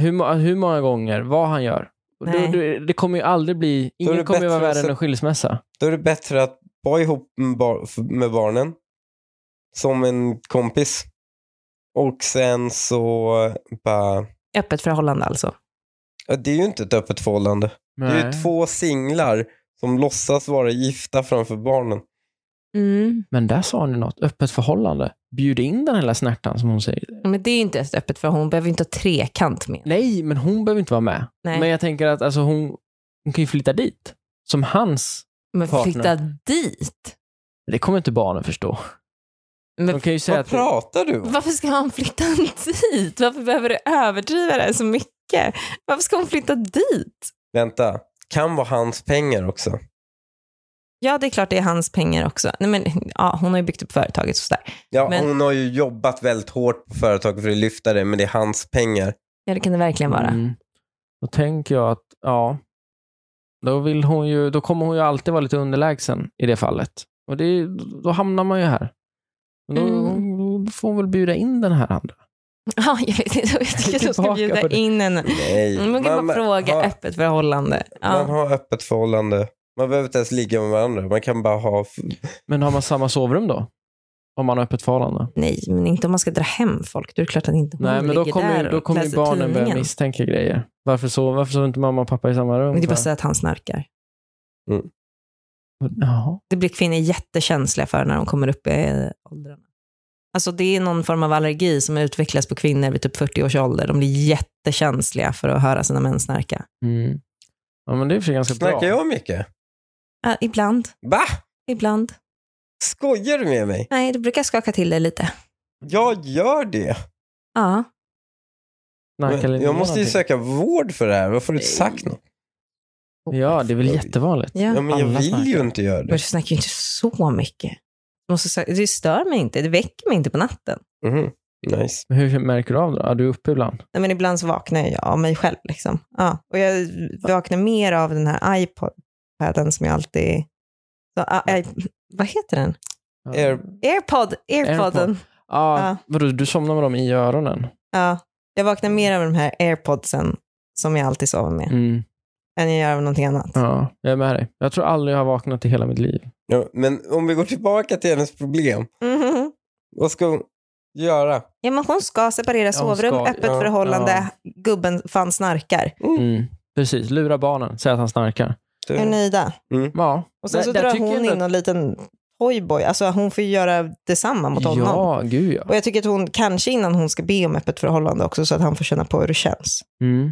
Speaker 2: Hur, ma- hur många gånger, vad han gör.
Speaker 1: Nej.
Speaker 2: Det, det, det kommer ju aldrig bli,
Speaker 3: är det
Speaker 2: ingen kommer ju vara
Speaker 3: bättre att
Speaker 2: värre än
Speaker 3: se-
Speaker 2: en skilsmässa.
Speaker 3: Då är det bättre att vara ihop med, bar- med barnen som en kompis. Och sen så bara...
Speaker 1: Öppet förhållande alltså.
Speaker 3: ja, Det är ju inte ett öppet förhållande. Det är ju två singlar som låtsas vara gifta framför barnen.
Speaker 1: Mm.
Speaker 2: Men där sa ni något, öppet förhållande. Bjud in den hela snärtan som hon säger.
Speaker 1: Men det är ju inte ett öppet förhållande, hon behöver ju inte ha trekant med.
Speaker 2: Nej, men hon behöver inte vara med.
Speaker 1: Nej.
Speaker 2: Men jag tänker att alltså, hon, hon kan ju flytta dit. Som hans.
Speaker 1: Men
Speaker 2: partner.
Speaker 1: flytta dit?
Speaker 2: Det kommer inte barnen förstå.
Speaker 1: Men
Speaker 2: De kan ju säga
Speaker 3: Vad
Speaker 2: att det,
Speaker 3: pratar du om?
Speaker 1: Varför ska han flytta dit? Varför behöver du överdriva det här så mycket? Varför ska hon flytta dit?
Speaker 3: Vänta, kan vara hans pengar också.
Speaker 1: Ja, det är klart det är hans pengar också. Nej, men, ja, hon har ju byggt upp företaget och sådär.
Speaker 3: Ja,
Speaker 1: Men-
Speaker 3: Hon har ju jobbat väldigt hårt på företaget för att lyfta det, men det är hans pengar.
Speaker 1: Ja, det kan det verkligen vara.
Speaker 2: Mm. Då tänker jag att, ja, då, vill hon ju, då kommer hon ju alltid vara lite underlägsen i det fallet. Och det, är- då hamnar man ju här. Men då,
Speaker 1: Mm.
Speaker 2: då får hon väl bjuda in den här andra.
Speaker 1: Ja, jag vet inte. Jag tycker att hon ska
Speaker 2: Tillbaka på
Speaker 1: bjuda
Speaker 2: det.
Speaker 1: in henne.
Speaker 3: Nej.
Speaker 1: Man kan bara fråga
Speaker 3: ha,
Speaker 1: öppet förhållande.
Speaker 3: Man
Speaker 1: Ja.
Speaker 3: har öppet förhållande. Man behöver inte ens ligga med varandra. Man kan bara ha...
Speaker 2: Men har man samma sovrum då? Om man har öppet förhållande?
Speaker 1: Nej, men inte om man ska dra hem folk. Då är det klart att inte hon
Speaker 2: Nej, men då
Speaker 1: ligger
Speaker 2: kommer,
Speaker 1: där
Speaker 2: då
Speaker 1: och
Speaker 2: kommer ju
Speaker 1: läser
Speaker 2: barnen börja
Speaker 1: tidningen.
Speaker 2: misstänka grejer. Varför sover, varför sover inte mamma och pappa i samma rum?
Speaker 1: Men det är bara att
Speaker 2: för?
Speaker 1: säga att han snarkar.
Speaker 2: Jaha.
Speaker 1: Det blir kvinnor jättekänsliga för när de kommer upp i eh, åldrarna. Alltså det är någon form av allergi som utvecklas på kvinnor vid typ 40 års ålder. De blir jättekänsliga för att höra sina män snarka.
Speaker 2: Mm. Ja, men det är i och för sig ganska
Speaker 3: Snackar
Speaker 2: bra.
Speaker 3: jag mycket?
Speaker 1: Ja, ibland,
Speaker 3: Va?
Speaker 1: ibland.
Speaker 3: Skojar du med mig?
Speaker 1: Nej, det brukar skaka till det lite.
Speaker 3: Jag gör det.
Speaker 1: Ja,
Speaker 2: Snarkar
Speaker 3: Men
Speaker 2: Linnea
Speaker 3: jag måste ju
Speaker 2: någonting?
Speaker 3: söka vård för det här. Varför har du inte sagt något?
Speaker 2: Ja, det är väl jättevanligt.
Speaker 1: ja.
Speaker 3: Ja, men jag
Speaker 2: Alla
Speaker 3: vill ju
Speaker 2: snackar.
Speaker 3: inte göra
Speaker 1: Men
Speaker 3: det.
Speaker 1: du snackar ju inte så mycket. Jag Måste säga, det stör mig inte, det väcker mig inte på natten.
Speaker 3: Mhm. Nice.
Speaker 2: Men Hur märker du av det då? Ja, du är uppe ibland.
Speaker 1: Nej, men ibland så vaknar jag av mig själv. Liksom. Ja. Och jag vaknar mer av den här iPoden som jag alltid... Så, I, I, vad heter den?
Speaker 2: Ja.
Speaker 3: Air...
Speaker 1: Airpod, Airpoden.
Speaker 2: Airpod. Ja,
Speaker 1: Ja.
Speaker 2: Vadå, du somnar med dem i öronen?
Speaker 1: Ja. Jag vaknar mer av de här airpodsen som jag alltid sover med
Speaker 2: Mm.
Speaker 1: än jag gör av någonting annat.
Speaker 2: Ja, jag är med dig. Jag tror aldrig jag har vaknat i hela mitt liv.
Speaker 3: Ja, men om vi går tillbaka till hennes problem.
Speaker 1: Mhm.
Speaker 3: Vad ska hon göra?
Speaker 1: Ja, men hon ska separera
Speaker 2: Ja, hon
Speaker 1: sovrum,
Speaker 2: ska.
Speaker 1: öppet
Speaker 3: Ja,
Speaker 1: förhållande, gubben fan snarkar.
Speaker 2: Mm. Precis, lura barnen, säga att han snarkar.
Speaker 3: Du-
Speaker 1: Är nöjda?
Speaker 2: Ja.
Speaker 1: Och sen
Speaker 2: Där-
Speaker 1: så
Speaker 2: där
Speaker 1: drar
Speaker 2: tycker Mm. jag
Speaker 1: hon
Speaker 2: ändå
Speaker 1: in någon liten toyboy. Alltså hon får ju göra detsamma mot honom.
Speaker 2: Ja, gud ja.
Speaker 1: Och jag tycker att hon, kanske innan hon ska be om öppet förhållande också, så att han får känna på hur det känns
Speaker 2: Mm.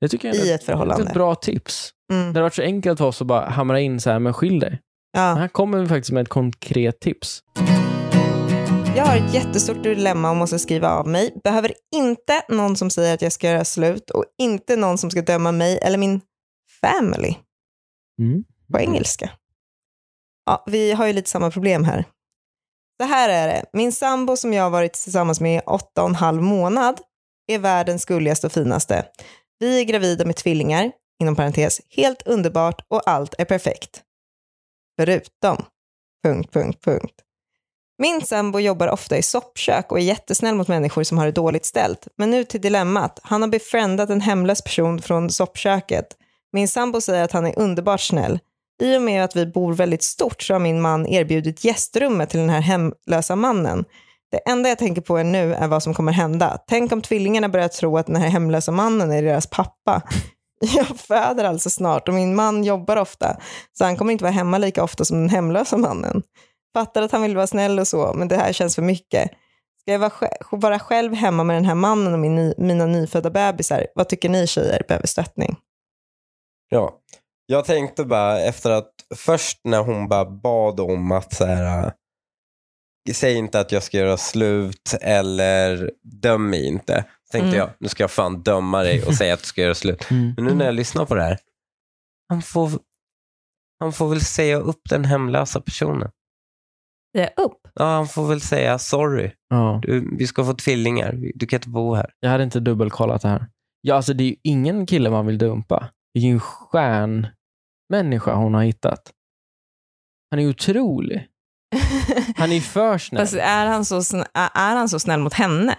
Speaker 2: Det tycker jag är
Speaker 1: i
Speaker 2: ett,
Speaker 1: ett förhållande.
Speaker 2: ett bra tips. Det
Speaker 1: Mm.
Speaker 2: hade varit så enkelt för oss att bara hamra in så här, men skilj dig. Men
Speaker 1: Ja.
Speaker 2: Här kommer vi faktiskt med ett konkret tips.
Speaker 1: Jag har ett jättestort dilemma och måste skriva av mig. Behöver inte någon som säger att jag ska göra slut och inte någon som ska döma mig eller min family
Speaker 2: Mm.
Speaker 1: på engelska. Ja, vi har ju lite samma problem här. Så här är det. Min sambo som jag har varit tillsammans med i åtta och en halv månad är världens gulligaste och finaste. Vi är gravida med tvillingar, inom parentes, helt underbart och allt är perfekt. Förutom... Punkt, punkt, punkt. Min sambo jobbar ofta i soppkök och är jättesnäll mot människor som har det dåligt ställt. Men nu till dilemmat. Han har befriendat en hemlös person från soppköket. Min sambo säger att han är underbart snäll. I och med att vi bor väldigt stort så har min man erbjudit gästrummet till den här hemlösa mannen. Det enda jag tänker på är nu är vad som kommer hända. Tänk om tvillingarna börjar tro att den här hemlösa mannen är deras pappa. Jag föder alltså snart och min man jobbar ofta, så han kommer inte vara hemma lika ofta som den hemlösa mannen. Fattar att han vill vara snäll och så, men det här känns för mycket. Ska jag vara, sj- vara själv hemma med den här mannen och min, ny- mina nyfödda bebisar? Vad tycker ni tjejer behöver stöttning?
Speaker 3: Ja. Jag tänkte bara efter att först när hon bara bad om att så här, äh, säg inte att jag ska göra slut eller döm mig inte. Så tänkte
Speaker 1: Mm.
Speaker 3: jag, nu ska jag fan döma dig och säga att du ska göra slut.
Speaker 2: Mm.
Speaker 3: Men nu när jag lyssnar på det här, han får, han får väl säga upp den hemlösa personen.
Speaker 1: Ja, upp.
Speaker 3: Ja, han får väl säga sorry,
Speaker 2: Ja.
Speaker 3: du, vi ska få tvillingar, du kan inte bo här.
Speaker 2: Jag hade inte dubbelkollat det här. Ja, alltså det är ju ingen kille man vill dumpa. Vilken stjärnmänniska hon har hittat. Han är ju otrolig. Han är ju för snäll.
Speaker 1: Fast är han, så sn- är är han så snäll mot henne?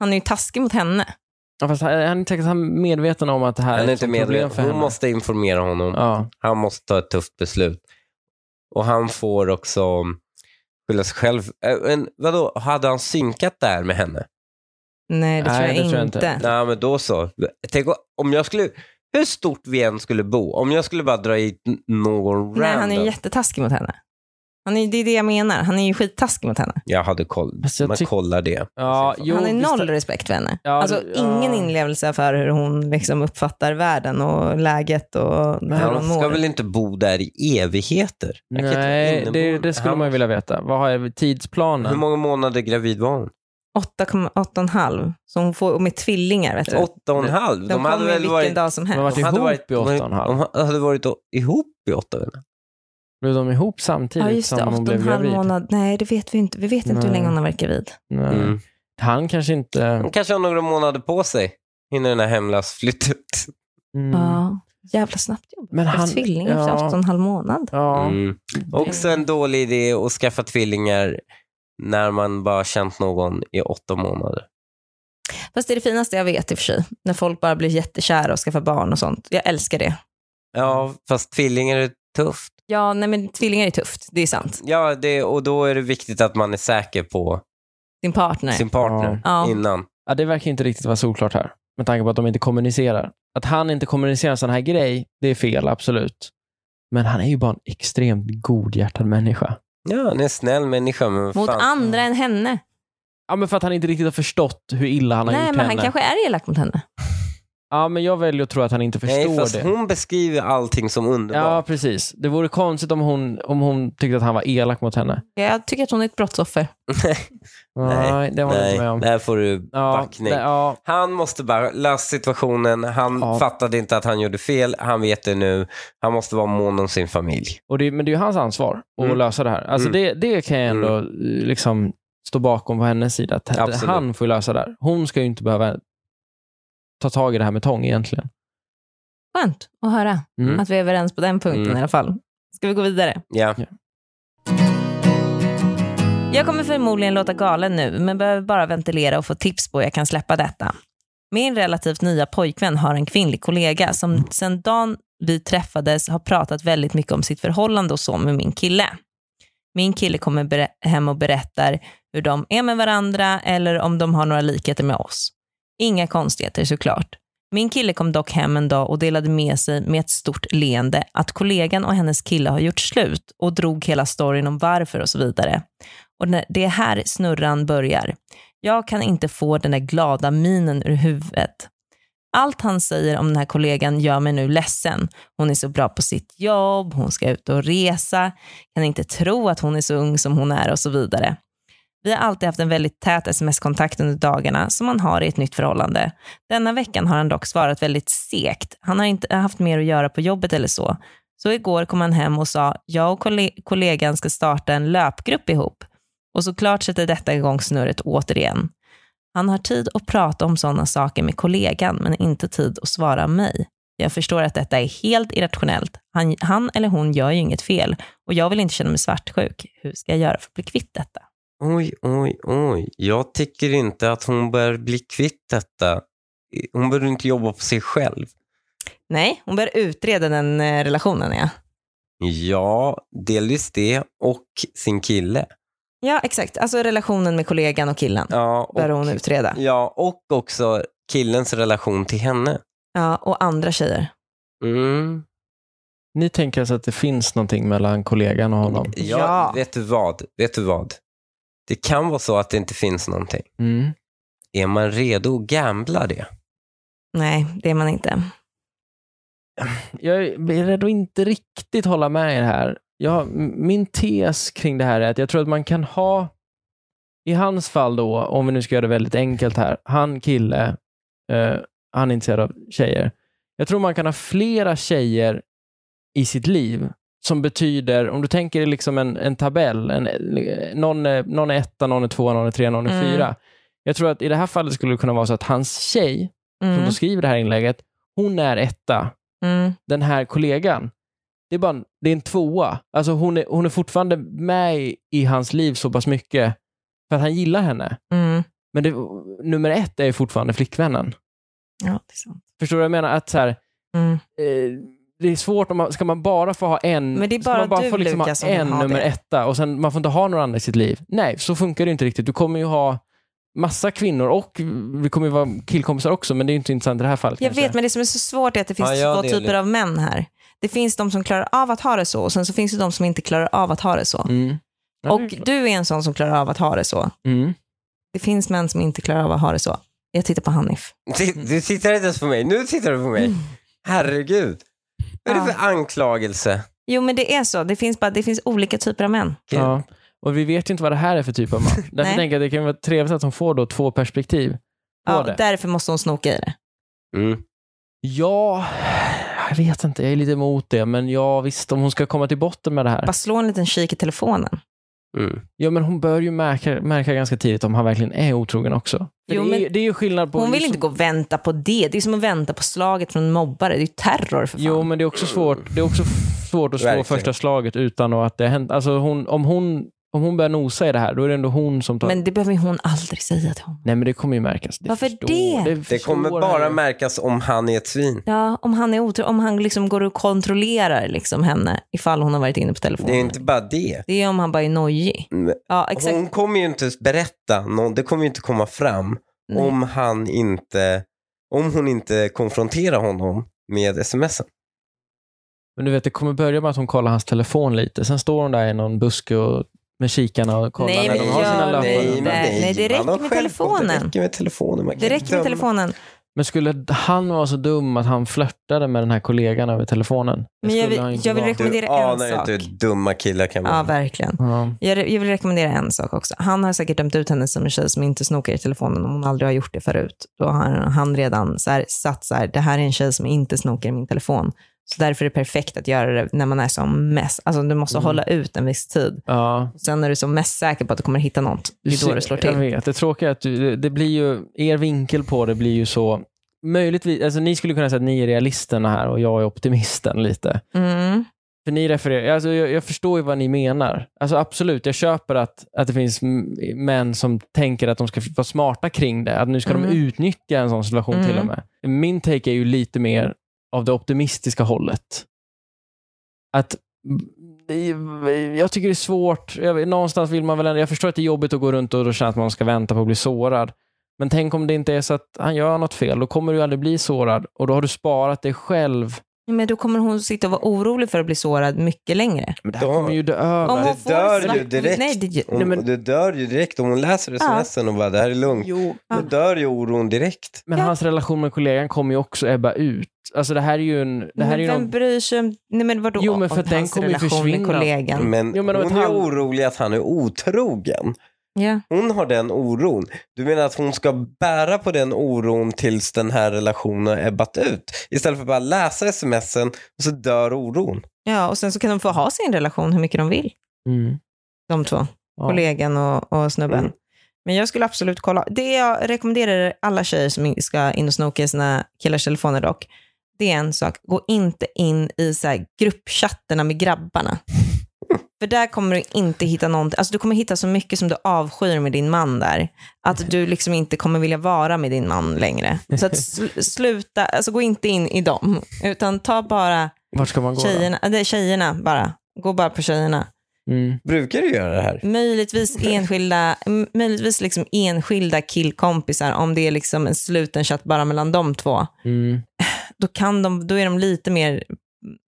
Speaker 1: Han är ju taskig mot henne.
Speaker 2: Ja, fast han han är säkert han är medveten om att det här
Speaker 3: Han
Speaker 2: är
Speaker 3: är
Speaker 2: ett
Speaker 3: inte
Speaker 2: sånt problem
Speaker 3: medveten,
Speaker 2: för
Speaker 3: hon
Speaker 2: henne.
Speaker 3: måste informera honom.
Speaker 2: Ja.
Speaker 3: Han måste ta ett tufft beslut. Och han får också skylla sig själv. Äh, Men vadå, hade han synkat det här med henne?
Speaker 1: Nej, det,
Speaker 2: Nej,
Speaker 1: tror, jag
Speaker 2: det tror jag
Speaker 1: inte.
Speaker 2: inte.
Speaker 3: Nej, men då så. Tänk o- om jag skulle, hur stort vi än skulle bo, om jag skulle bara dra hit n- någon
Speaker 1: Nej,
Speaker 3: random.
Speaker 1: han är ju jättetaskig mot henne. Han är, det är det jag menar. Han är ju skittaskig mot henne.
Speaker 3: Jag hade koll,
Speaker 2: Fast jag
Speaker 3: man
Speaker 2: tyck-
Speaker 3: kollar det.
Speaker 2: Ja,
Speaker 3: Han
Speaker 2: jo,
Speaker 1: han har ju
Speaker 2: visst-
Speaker 1: noll respekt för henne.
Speaker 2: Ja,
Speaker 1: alltså
Speaker 2: det-
Speaker 1: ingen
Speaker 2: ja.
Speaker 1: inlevelse för hur hon liksom uppfattar världen och läget och hur hon
Speaker 3: Han ska
Speaker 1: mår.
Speaker 3: väl inte bo där i evigheter? Jag kan inte
Speaker 2: Nej, det,
Speaker 3: innebo-
Speaker 2: det skulle
Speaker 3: Han-
Speaker 2: man ju vilja veta. Vad har jag, tidsplanen?
Speaker 3: Hur många månader gravid var hon?
Speaker 1: 8,5. Så hon får, och med tvillingar vet du.
Speaker 3: Åtta och en halv.
Speaker 1: Eh, de
Speaker 3: De hade
Speaker 1: kommer ju
Speaker 3: väl
Speaker 1: vilken
Speaker 3: varit...
Speaker 1: dag som
Speaker 2: De har
Speaker 1: helst.
Speaker 2: varit
Speaker 3: de
Speaker 2: ihop i
Speaker 3: hade varit-
Speaker 2: åtta och en halv.
Speaker 3: De hade varit ihop i åtta och en halv.
Speaker 2: Blev de ihop samtidigt
Speaker 1: Ja, just det.
Speaker 2: som hon
Speaker 1: Åtta och en
Speaker 2: blev
Speaker 1: halv
Speaker 2: gravid?
Speaker 1: månad. Nej, det vet vi inte. Vi vet inte hur
Speaker 2: Nej.
Speaker 1: länge hon har varit gravid.
Speaker 2: Nej.
Speaker 3: Mm.
Speaker 2: Han kanske inte...
Speaker 3: De kanske har några månader på sig innan den här hemlösflyttet.
Speaker 2: Mm.
Speaker 1: Ja. Jävla snabbt jobb.
Speaker 2: Men han-
Speaker 1: Han, tvilling efter
Speaker 2: ja.
Speaker 1: åtta och en halv månad.
Speaker 2: Ja.
Speaker 3: Mm. Också en dålig idé att skaffa tvillingar när man bara känt någon i åtta månader.
Speaker 1: Fast det är det finaste jag vet i och för sig. När folk bara blir jättekära och skaffar barn och sånt. Jag älskar det.
Speaker 3: Ja, fast tvillingar är tufft.
Speaker 1: Ja, nej men tvillingar är tufft. Det är sant.
Speaker 3: Ja, det, och då är det viktigt att man är säker på
Speaker 1: Din partner.
Speaker 3: sin partner
Speaker 1: Ja. Ja.
Speaker 3: innan.
Speaker 2: Ja, det verkar inte riktigt vara solklart här. Med tanke på att de inte kommunicerar. Att han inte kommunicerar en sån här grej, det är fel, absolut. Men han är ju bara en extremt godhjärtad människa.
Speaker 3: Ja, han är en snäll människa, men
Speaker 1: Mot
Speaker 3: fan.
Speaker 1: andra än henne.
Speaker 2: Ja, men för att han inte riktigt har förstått hur illa han har
Speaker 1: Nej,
Speaker 2: gjort
Speaker 1: men
Speaker 2: henne.
Speaker 1: han kanske är elak mot henne.
Speaker 2: Ja, men jag väljer att tro att han inte förstår
Speaker 3: Nej, fast
Speaker 2: det.
Speaker 3: hon beskriver allting som
Speaker 2: Ja,
Speaker 3: underbart.
Speaker 2: precis. Det vore konstigt om hon, om hon tyckte att han var elak mot henne.
Speaker 1: Jag tycker att hon är ett brottsoffer.
Speaker 3: Nej,
Speaker 2: Nej, det var jag
Speaker 3: Nej,
Speaker 2: inte med om.
Speaker 3: där får du
Speaker 2: Ja,
Speaker 3: backning.
Speaker 2: det- ja,
Speaker 3: Han måste bara lösa situationen. Han
Speaker 2: Ja.
Speaker 3: fattade inte att han gjorde fel. Han vet det nu. Han måste vara mån om sin familj.
Speaker 2: och det, men det är ju hans ansvar att
Speaker 3: Mm.
Speaker 2: lösa det här. Alltså
Speaker 3: Mm.
Speaker 2: det, det kan jag ändå eh, liksom stå bakom på hennes sida. Att
Speaker 3: Absolut.
Speaker 2: Han får ju lösa det här. Hon ska ju inte behöva ta tag i det här med tång egentligen.
Speaker 1: Skönt att höra
Speaker 2: Mm.
Speaker 1: att vi är överens på den punkten
Speaker 3: Mm.
Speaker 1: i alla fall. Ska vi gå vidare?
Speaker 3: Ja.
Speaker 1: Jag kommer förmodligen låta galen nu, men behöver bara ventilera och få tips på hur jag kan släppa detta. Min relativt nya pojkvän har en kvinnlig kollega som sedan dagen vi träffades har pratat väldigt mycket om sitt förhållande och så med min kille. Min kille kommer ber- hem och berättar hur de är med varandra eller om de har några likheter med oss. Inga konstigheter såklart. Min kille kom dock hem en dag och delade med sig med ett stort leende att kollegan och hennes kille har gjort slut och drog hela storyn om varför och så vidare. Och när det är här snurran börjar. Jag kan inte få den där glada minen ur huvudet. Allt han säger om den här kollegan gör mig nu ledsen. Hon är så bra på sitt jobb, hon ska ut och resa, kan inte tro att hon är så ung som hon är och så vidare. Vi har alltid haft en väldigt tät sms-kontakt under dagarna som man har i ett nytt förhållande. Denna veckan har han dock svarat väldigt segt. Han har inte haft mer att göra på jobbet eller så. Så igår kom han hem och sa, jag och kolle- kollegan ska starta en löpgrupp ihop. Och såklart sätter detta igång snurret återigen. Han har tid att prata om sådana saker med kollegan, men inte tid att svara mig. Jag förstår att detta är helt irrationellt. Han, han eller hon gör ju inget fel och jag vill inte känna mig svartsjuk. Hur ska jag göra för att bli kvitt detta?
Speaker 3: Oj, oj, oj. Jag tycker inte att hon bör bli kvitt detta. Hon bör inte jobba på sig själv.
Speaker 1: Nej, hon börjar utreda den eh, relationen. Ja,
Speaker 3: Ja, delvis det och sin kille.
Speaker 1: ja exakt. Alltså relationen med kollegan och killen
Speaker 3: Ja, och,
Speaker 1: börjar hon utreda.
Speaker 3: ja, och också killens relation till henne.
Speaker 1: Ja, och andra tjejer.
Speaker 3: Mm.
Speaker 2: Ni tänker alltså att det finns någonting mellan kollegan och honom?
Speaker 3: Ja,
Speaker 1: Ja.
Speaker 3: Vet, du vad? vet du vad? Det kan vara så att det inte finns någonting.
Speaker 2: Mm.
Speaker 3: Är man redo att gambla det?
Speaker 1: Nej, det är man inte.
Speaker 2: Jag är beredd att inte riktigt hålla med er här. Jag, min tes kring det här är att jag tror att man kan ha, i hans fall då, om vi nu ska göra det väldigt enkelt här, han kille, eh, han är intresserad av tjejer. Jag tror man kan ha flera tjejer i sitt liv som betyder, om du tänker dig liksom en, en tabell, en, någon, är, någon är etta, någon är tvåa, någon är trea, någon är
Speaker 1: Mm.
Speaker 2: fyra. Jag tror att i det här fallet skulle det kunna vara så att hans tjej, som
Speaker 1: Mm,
Speaker 2: då skriver det här inlägget, hon är etta
Speaker 1: mm,
Speaker 2: den här kollegan, det är, bara en, det är en tvåa. Alltså hon, är, hon är fortfarande med i, i hans liv så pass mycket för att han gillar henne.
Speaker 1: mm.
Speaker 2: Men det, nummer ett är ju fortfarande flickvännen.
Speaker 1: Ja, det är sant.
Speaker 2: Förstår du vad jag menar? Att så här,
Speaker 1: Mm.
Speaker 2: eh, det är svårt om man, ska man bara få ha en,
Speaker 1: Men det är
Speaker 2: ska
Speaker 1: bara
Speaker 2: man bara
Speaker 1: du,
Speaker 2: få liksom
Speaker 1: Lukas, som
Speaker 2: ha en
Speaker 1: har
Speaker 2: nummer
Speaker 1: det.
Speaker 2: etta och sen man får inte ha några andra i sitt liv. Nej, så funkar det ju inte riktigt. Du kommer ju ha massa kvinnor och vi kommer ju vara killkompisar också, men det är ju inte intressant i det här fallet.
Speaker 1: Jag
Speaker 2: kanske.
Speaker 1: vet, men det som är så svårt är att det finns
Speaker 3: Ja, jag
Speaker 1: två
Speaker 3: delar.
Speaker 1: typer av män här. Det finns de som klarar av att ha det så och sen så finns det de som inte klarar av att ha det så.
Speaker 2: Mm. Ja, det är
Speaker 1: Och
Speaker 2: klart.
Speaker 1: du är en sån som klarar av att ha det så.
Speaker 2: Mm.
Speaker 1: Det finns män som inte klarar av att ha det så. Jag tittar på Hanif.
Speaker 3: Du, du tittar inte ens på mig. Nu tittar du på mig. Herregud. Vad är det
Speaker 1: Mm. Ja.
Speaker 3: för anklagelse?
Speaker 1: Jo, men det är så. Det finns, bara, det finns olika typer av män.
Speaker 3: Gud.
Speaker 2: Ja. Och vi vet ju inte vad det här är för typ av man. Därför
Speaker 1: Nej.
Speaker 2: tänker jag att det kan vara trevligt att hon får då två perspektiv på
Speaker 1: Ja,
Speaker 2: det.
Speaker 1: därför måste hon snoka i det.
Speaker 3: Mm.
Speaker 2: Ja, jag vet inte, jag är lite emot det. Men ja, visst, om hon ska komma till botten med det här.
Speaker 1: Bara slå en liten kik i telefonen.
Speaker 3: Mm.
Speaker 2: Ja, men hon bör ju märka, märka ganska tidigt om han verkligen är otrogen också. För
Speaker 1: Jo,
Speaker 2: det, är,
Speaker 1: men-
Speaker 2: det är ju skillnad på... liksom-
Speaker 1: Hon vill inte gå och vänta på det. Det är som att vänta på slaget från en mobbare. Det är ju terror för fan.
Speaker 2: Jo, men det är också svårt, det är också svårt att slå
Speaker 3: Verkligen.
Speaker 2: första slaget utan att det har hänt. Alltså, hon, om, hon, om hon börjar nosa i det här, då är det ändå hon som tar...
Speaker 1: Men det behöver ju hon aldrig säga till honom.
Speaker 2: Nej, men det kommer ju märkas. Det
Speaker 1: Varför
Speaker 2: förstår-
Speaker 1: det?
Speaker 2: förstår
Speaker 3: Det kommer bara
Speaker 2: jag.
Speaker 3: märkas om han är ett svin.
Speaker 1: Ja, om han, är otro, om han liksom går och kontrollerar liksom henne ifall hon har varit inne på
Speaker 3: Det
Speaker 1: telefonen.
Speaker 3: är
Speaker 2: Mm.
Speaker 3: inte bara det.
Speaker 1: Det är om han bara är nojig.
Speaker 3: Mm.
Speaker 1: Ja, exakt.
Speaker 3: Hon kommer ju inte berätta, någon, det kommer ju inte komma fram
Speaker 1: Nej.
Speaker 3: om, han inte, om hon inte konfronterar honom med smsen.
Speaker 2: Men du vet, det kommer börja med att hon kollar hans telefon lite. Sen står hon där i någon buske och, med kikarna och kollar
Speaker 1: Nej,
Speaker 2: när
Speaker 1: men
Speaker 2: de har sina
Speaker 1: gör
Speaker 2: lappar.
Speaker 1: det
Speaker 2: Nej,
Speaker 1: inte. Nej, det räcker
Speaker 3: man har
Speaker 1: med
Speaker 3: själv- Det
Speaker 1: telefonen.
Speaker 3: räcker med telefonen. man kan
Speaker 1: Det räcker med
Speaker 3: döma.
Speaker 1: telefonen.
Speaker 2: Men skulle han vara så dum att han flörtade med den här kollegan över telefonen? Det
Speaker 1: Men jag
Speaker 2: skulle
Speaker 1: vill-
Speaker 2: han inte
Speaker 1: jag vill
Speaker 2: vara.
Speaker 1: rekommendera- Men det är
Speaker 3: Du
Speaker 1: en
Speaker 3: anar
Speaker 1: sak.
Speaker 3: inte hur dumma killar kan vara.
Speaker 1: Ja, verkligen.
Speaker 2: Ja.
Speaker 1: Jag, re- jag vill rekommendera en sak också. Han har säkert dömt ut henne som en tjej som inte snokar i telefonen om hon aldrig har gjort det förut. Då har han redan så här, satt så här, det här är en tjej som inte snokar i min telefon. Så därför är det perfekt att göra det när man är som mest. Alltså du
Speaker 3: Mm.
Speaker 1: måste hålla ut en viss tid.
Speaker 2: Ja.
Speaker 1: Sen är du som mest säker på att du kommer hitta något. Det är då du slår
Speaker 2: Jag
Speaker 1: till.
Speaker 2: vet, det tråkiga är att du, det- det blir ju, er vinkel på det blir ju så, möjligtvis, alltså ni skulle kunna säga att ni är realisterna här och jag är optimisten lite.
Speaker 1: Mm.
Speaker 2: För ni refererar, alltså jag, jag förstår ju vad ni menar. Alltså absolut, jag köper att, att det finns m- män som tänker att de ska vara smarta kring det, att nu ska
Speaker 1: Mm.
Speaker 2: de utnyttja en sån situation till och
Speaker 1: Mm.
Speaker 2: med. Min take är ju lite mer av det optimistiska hållet. Att det- jag tycker det är svårt. Jag, vet- någonstans vill man väl ändå, jag förstår att det är jobbigt att gå runt och då känna att man ska vänta på att bli sårad. Men tänk om det inte är så att han gör något fel, då kommer du aldrig bli sårad och då har du sparat dig själv.
Speaker 1: Men då kommer hon sitta och vara orolig för att bli sårad mycket längre.
Speaker 2: Men det
Speaker 3: Då-
Speaker 2: här kommer ju dö över.
Speaker 1: Om hon
Speaker 3: Det dör
Speaker 1: snack-
Speaker 3: ju direkt.
Speaker 1: Nej, det,
Speaker 3: Om,
Speaker 2: Nej, men-
Speaker 3: Du dör ju direkt om hon läser smsen och bara det här är lugnt.
Speaker 1: Mm.
Speaker 2: Jo,
Speaker 3: Då dör ju oron direkt.
Speaker 2: Men
Speaker 1: Ja.
Speaker 2: hans relation med kollegan kommer ju också ebba ut. Alltså det här är ju en... Det här är
Speaker 1: men
Speaker 2: ju
Speaker 1: vem
Speaker 2: någon,
Speaker 1: bryr sig om... Nej, men vadå?
Speaker 2: Jo, men
Speaker 1: Om
Speaker 2: för att den
Speaker 1: hans
Speaker 2: kommer ju
Speaker 1: relation med
Speaker 2: försvinna.
Speaker 1: kollegan.
Speaker 3: Men
Speaker 2: Jo, men om ett
Speaker 3: hon är
Speaker 2: halv-
Speaker 3: orolig att han är otrogen.
Speaker 1: Ja.
Speaker 3: Hon har den oron. Du menar att hon ska bära på den oron tills den här relationen har ebbat ut? Istället för att bara läsa smsen och så dör oron.
Speaker 1: ja, och sen så kan de få ha sin relation hur mycket de vill.
Speaker 2: mm,
Speaker 1: de två.
Speaker 2: ja.
Speaker 1: Kollegan och, och snubben.
Speaker 3: Mm.
Speaker 1: Men jag skulle absolut kolla. Det jag rekommenderar alla tjejer som in- ska in och snoka i sina killars telefoner dock, det är en sak. Gå inte in i så här gruppchatterna med grabbarna. För där kommer du inte hitta någonting. Alltså du kommer hitta så mycket som du avskyr med din man där. Att du liksom inte kommer vilja vara med din man längre. Så att sl- sluta, alltså gå inte in i dem. Utan ta bara
Speaker 2: Vart ska man gå
Speaker 1: tjejerna, äh, det är tjejerna bara. Gå bara på tjejerna.
Speaker 2: då? Mm.
Speaker 3: Brukar du göra det här?
Speaker 1: Möjligtvis enskilda, m- möjligtvis liksom enskilda killkompisar, om det är liksom en sluten chatt bara mellan de två,
Speaker 2: Mm.
Speaker 1: då, kan de, då är de lite mer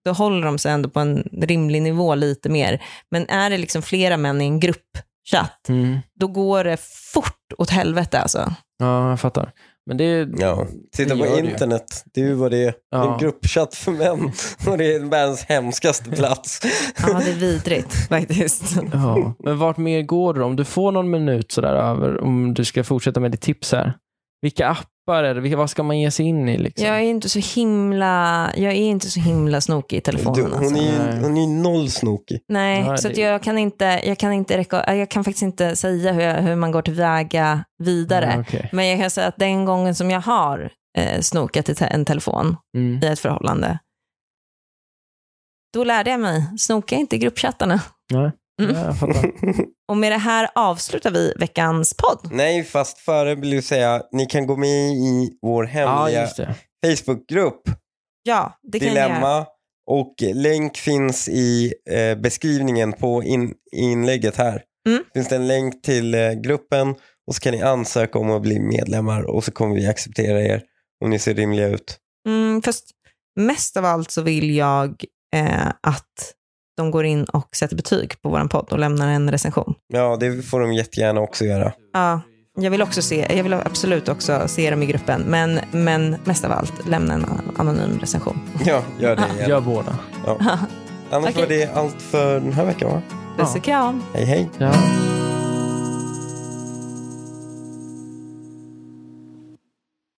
Speaker 1: då håller de sig ändå på en rimlig nivå lite mer. Men är det liksom flera män i en gruppchatt,
Speaker 2: Mm.
Speaker 1: då går det fort åt helvete alltså.
Speaker 2: Ja, jag fattar. Men det är...
Speaker 3: Ja. Titta
Speaker 2: Det
Speaker 3: på
Speaker 2: gör du ju.
Speaker 3: internet. Det är ju vad det är. Det är
Speaker 2: Ja.
Speaker 3: en gruppchatt för män. Och det är världens hemskaste plats.
Speaker 1: Ja, det är vidrigt faktiskt.
Speaker 2: Ja. Men vart mer går du? Om du får någon minut sådär över, om du ska fortsätta med ditt tips här. Vilka appar är det? Vilka, vad ska man ge sig in i? Liksom?
Speaker 1: Jag är inte så himla, jag är inte så himla snokig i
Speaker 3: Du,
Speaker 1: telefonen. alltså.
Speaker 3: hon, är ju, hon är ju noll snokig.
Speaker 1: Nej,
Speaker 2: Nej,
Speaker 1: så att
Speaker 2: det-
Speaker 1: jag, kan inte, jag, kan inte reko- äh, jag kan faktiskt inte säga hur, jag, hur man går tillväga vidare.
Speaker 2: Ja, Mm, okej.
Speaker 1: Men jag kan säga att den gången som jag har eh, snokat i te- en telefon
Speaker 2: mm.
Speaker 1: i ett förhållande, då lärde jag mig, snoka inte i gruppchattarna. Mm.
Speaker 2: Ja, jag fattar.
Speaker 1: Och med det här avslutar vi veckans podd.
Speaker 3: Nej, fast före vill jag säga ni kan gå med i vår
Speaker 2: Ja,
Speaker 3: hemliga
Speaker 2: just det.
Speaker 3: Facebookgrupp
Speaker 1: Ja, det kan jag göra.
Speaker 3: Dilemma. Och länk finns i eh, beskrivningen på in, inlägget här.
Speaker 1: Mm.
Speaker 3: Finns det en länk till eh, gruppen och så kan ni ansöka om att bli medlemmar och så kommer vi acceptera er om ni ser rimliga ut.
Speaker 1: Mm, fast mest av allt så vill jag eh, att de går in och sätter betyg på vår podd och lämnar en recension.
Speaker 3: Ja, det får de jättegärna också göra.
Speaker 1: Ja, jag vill också se, jag vill absolut också se dem i gruppen, men, men mest av allt lämna en anonym recension.
Speaker 3: Ja, gör det
Speaker 2: Gör
Speaker 3: igen.
Speaker 2: båda.
Speaker 3: Annars
Speaker 1: Okej.
Speaker 3: var det allt för den här veckan va?
Speaker 1: Puss och kram!
Speaker 3: Hej hej!
Speaker 2: Ja.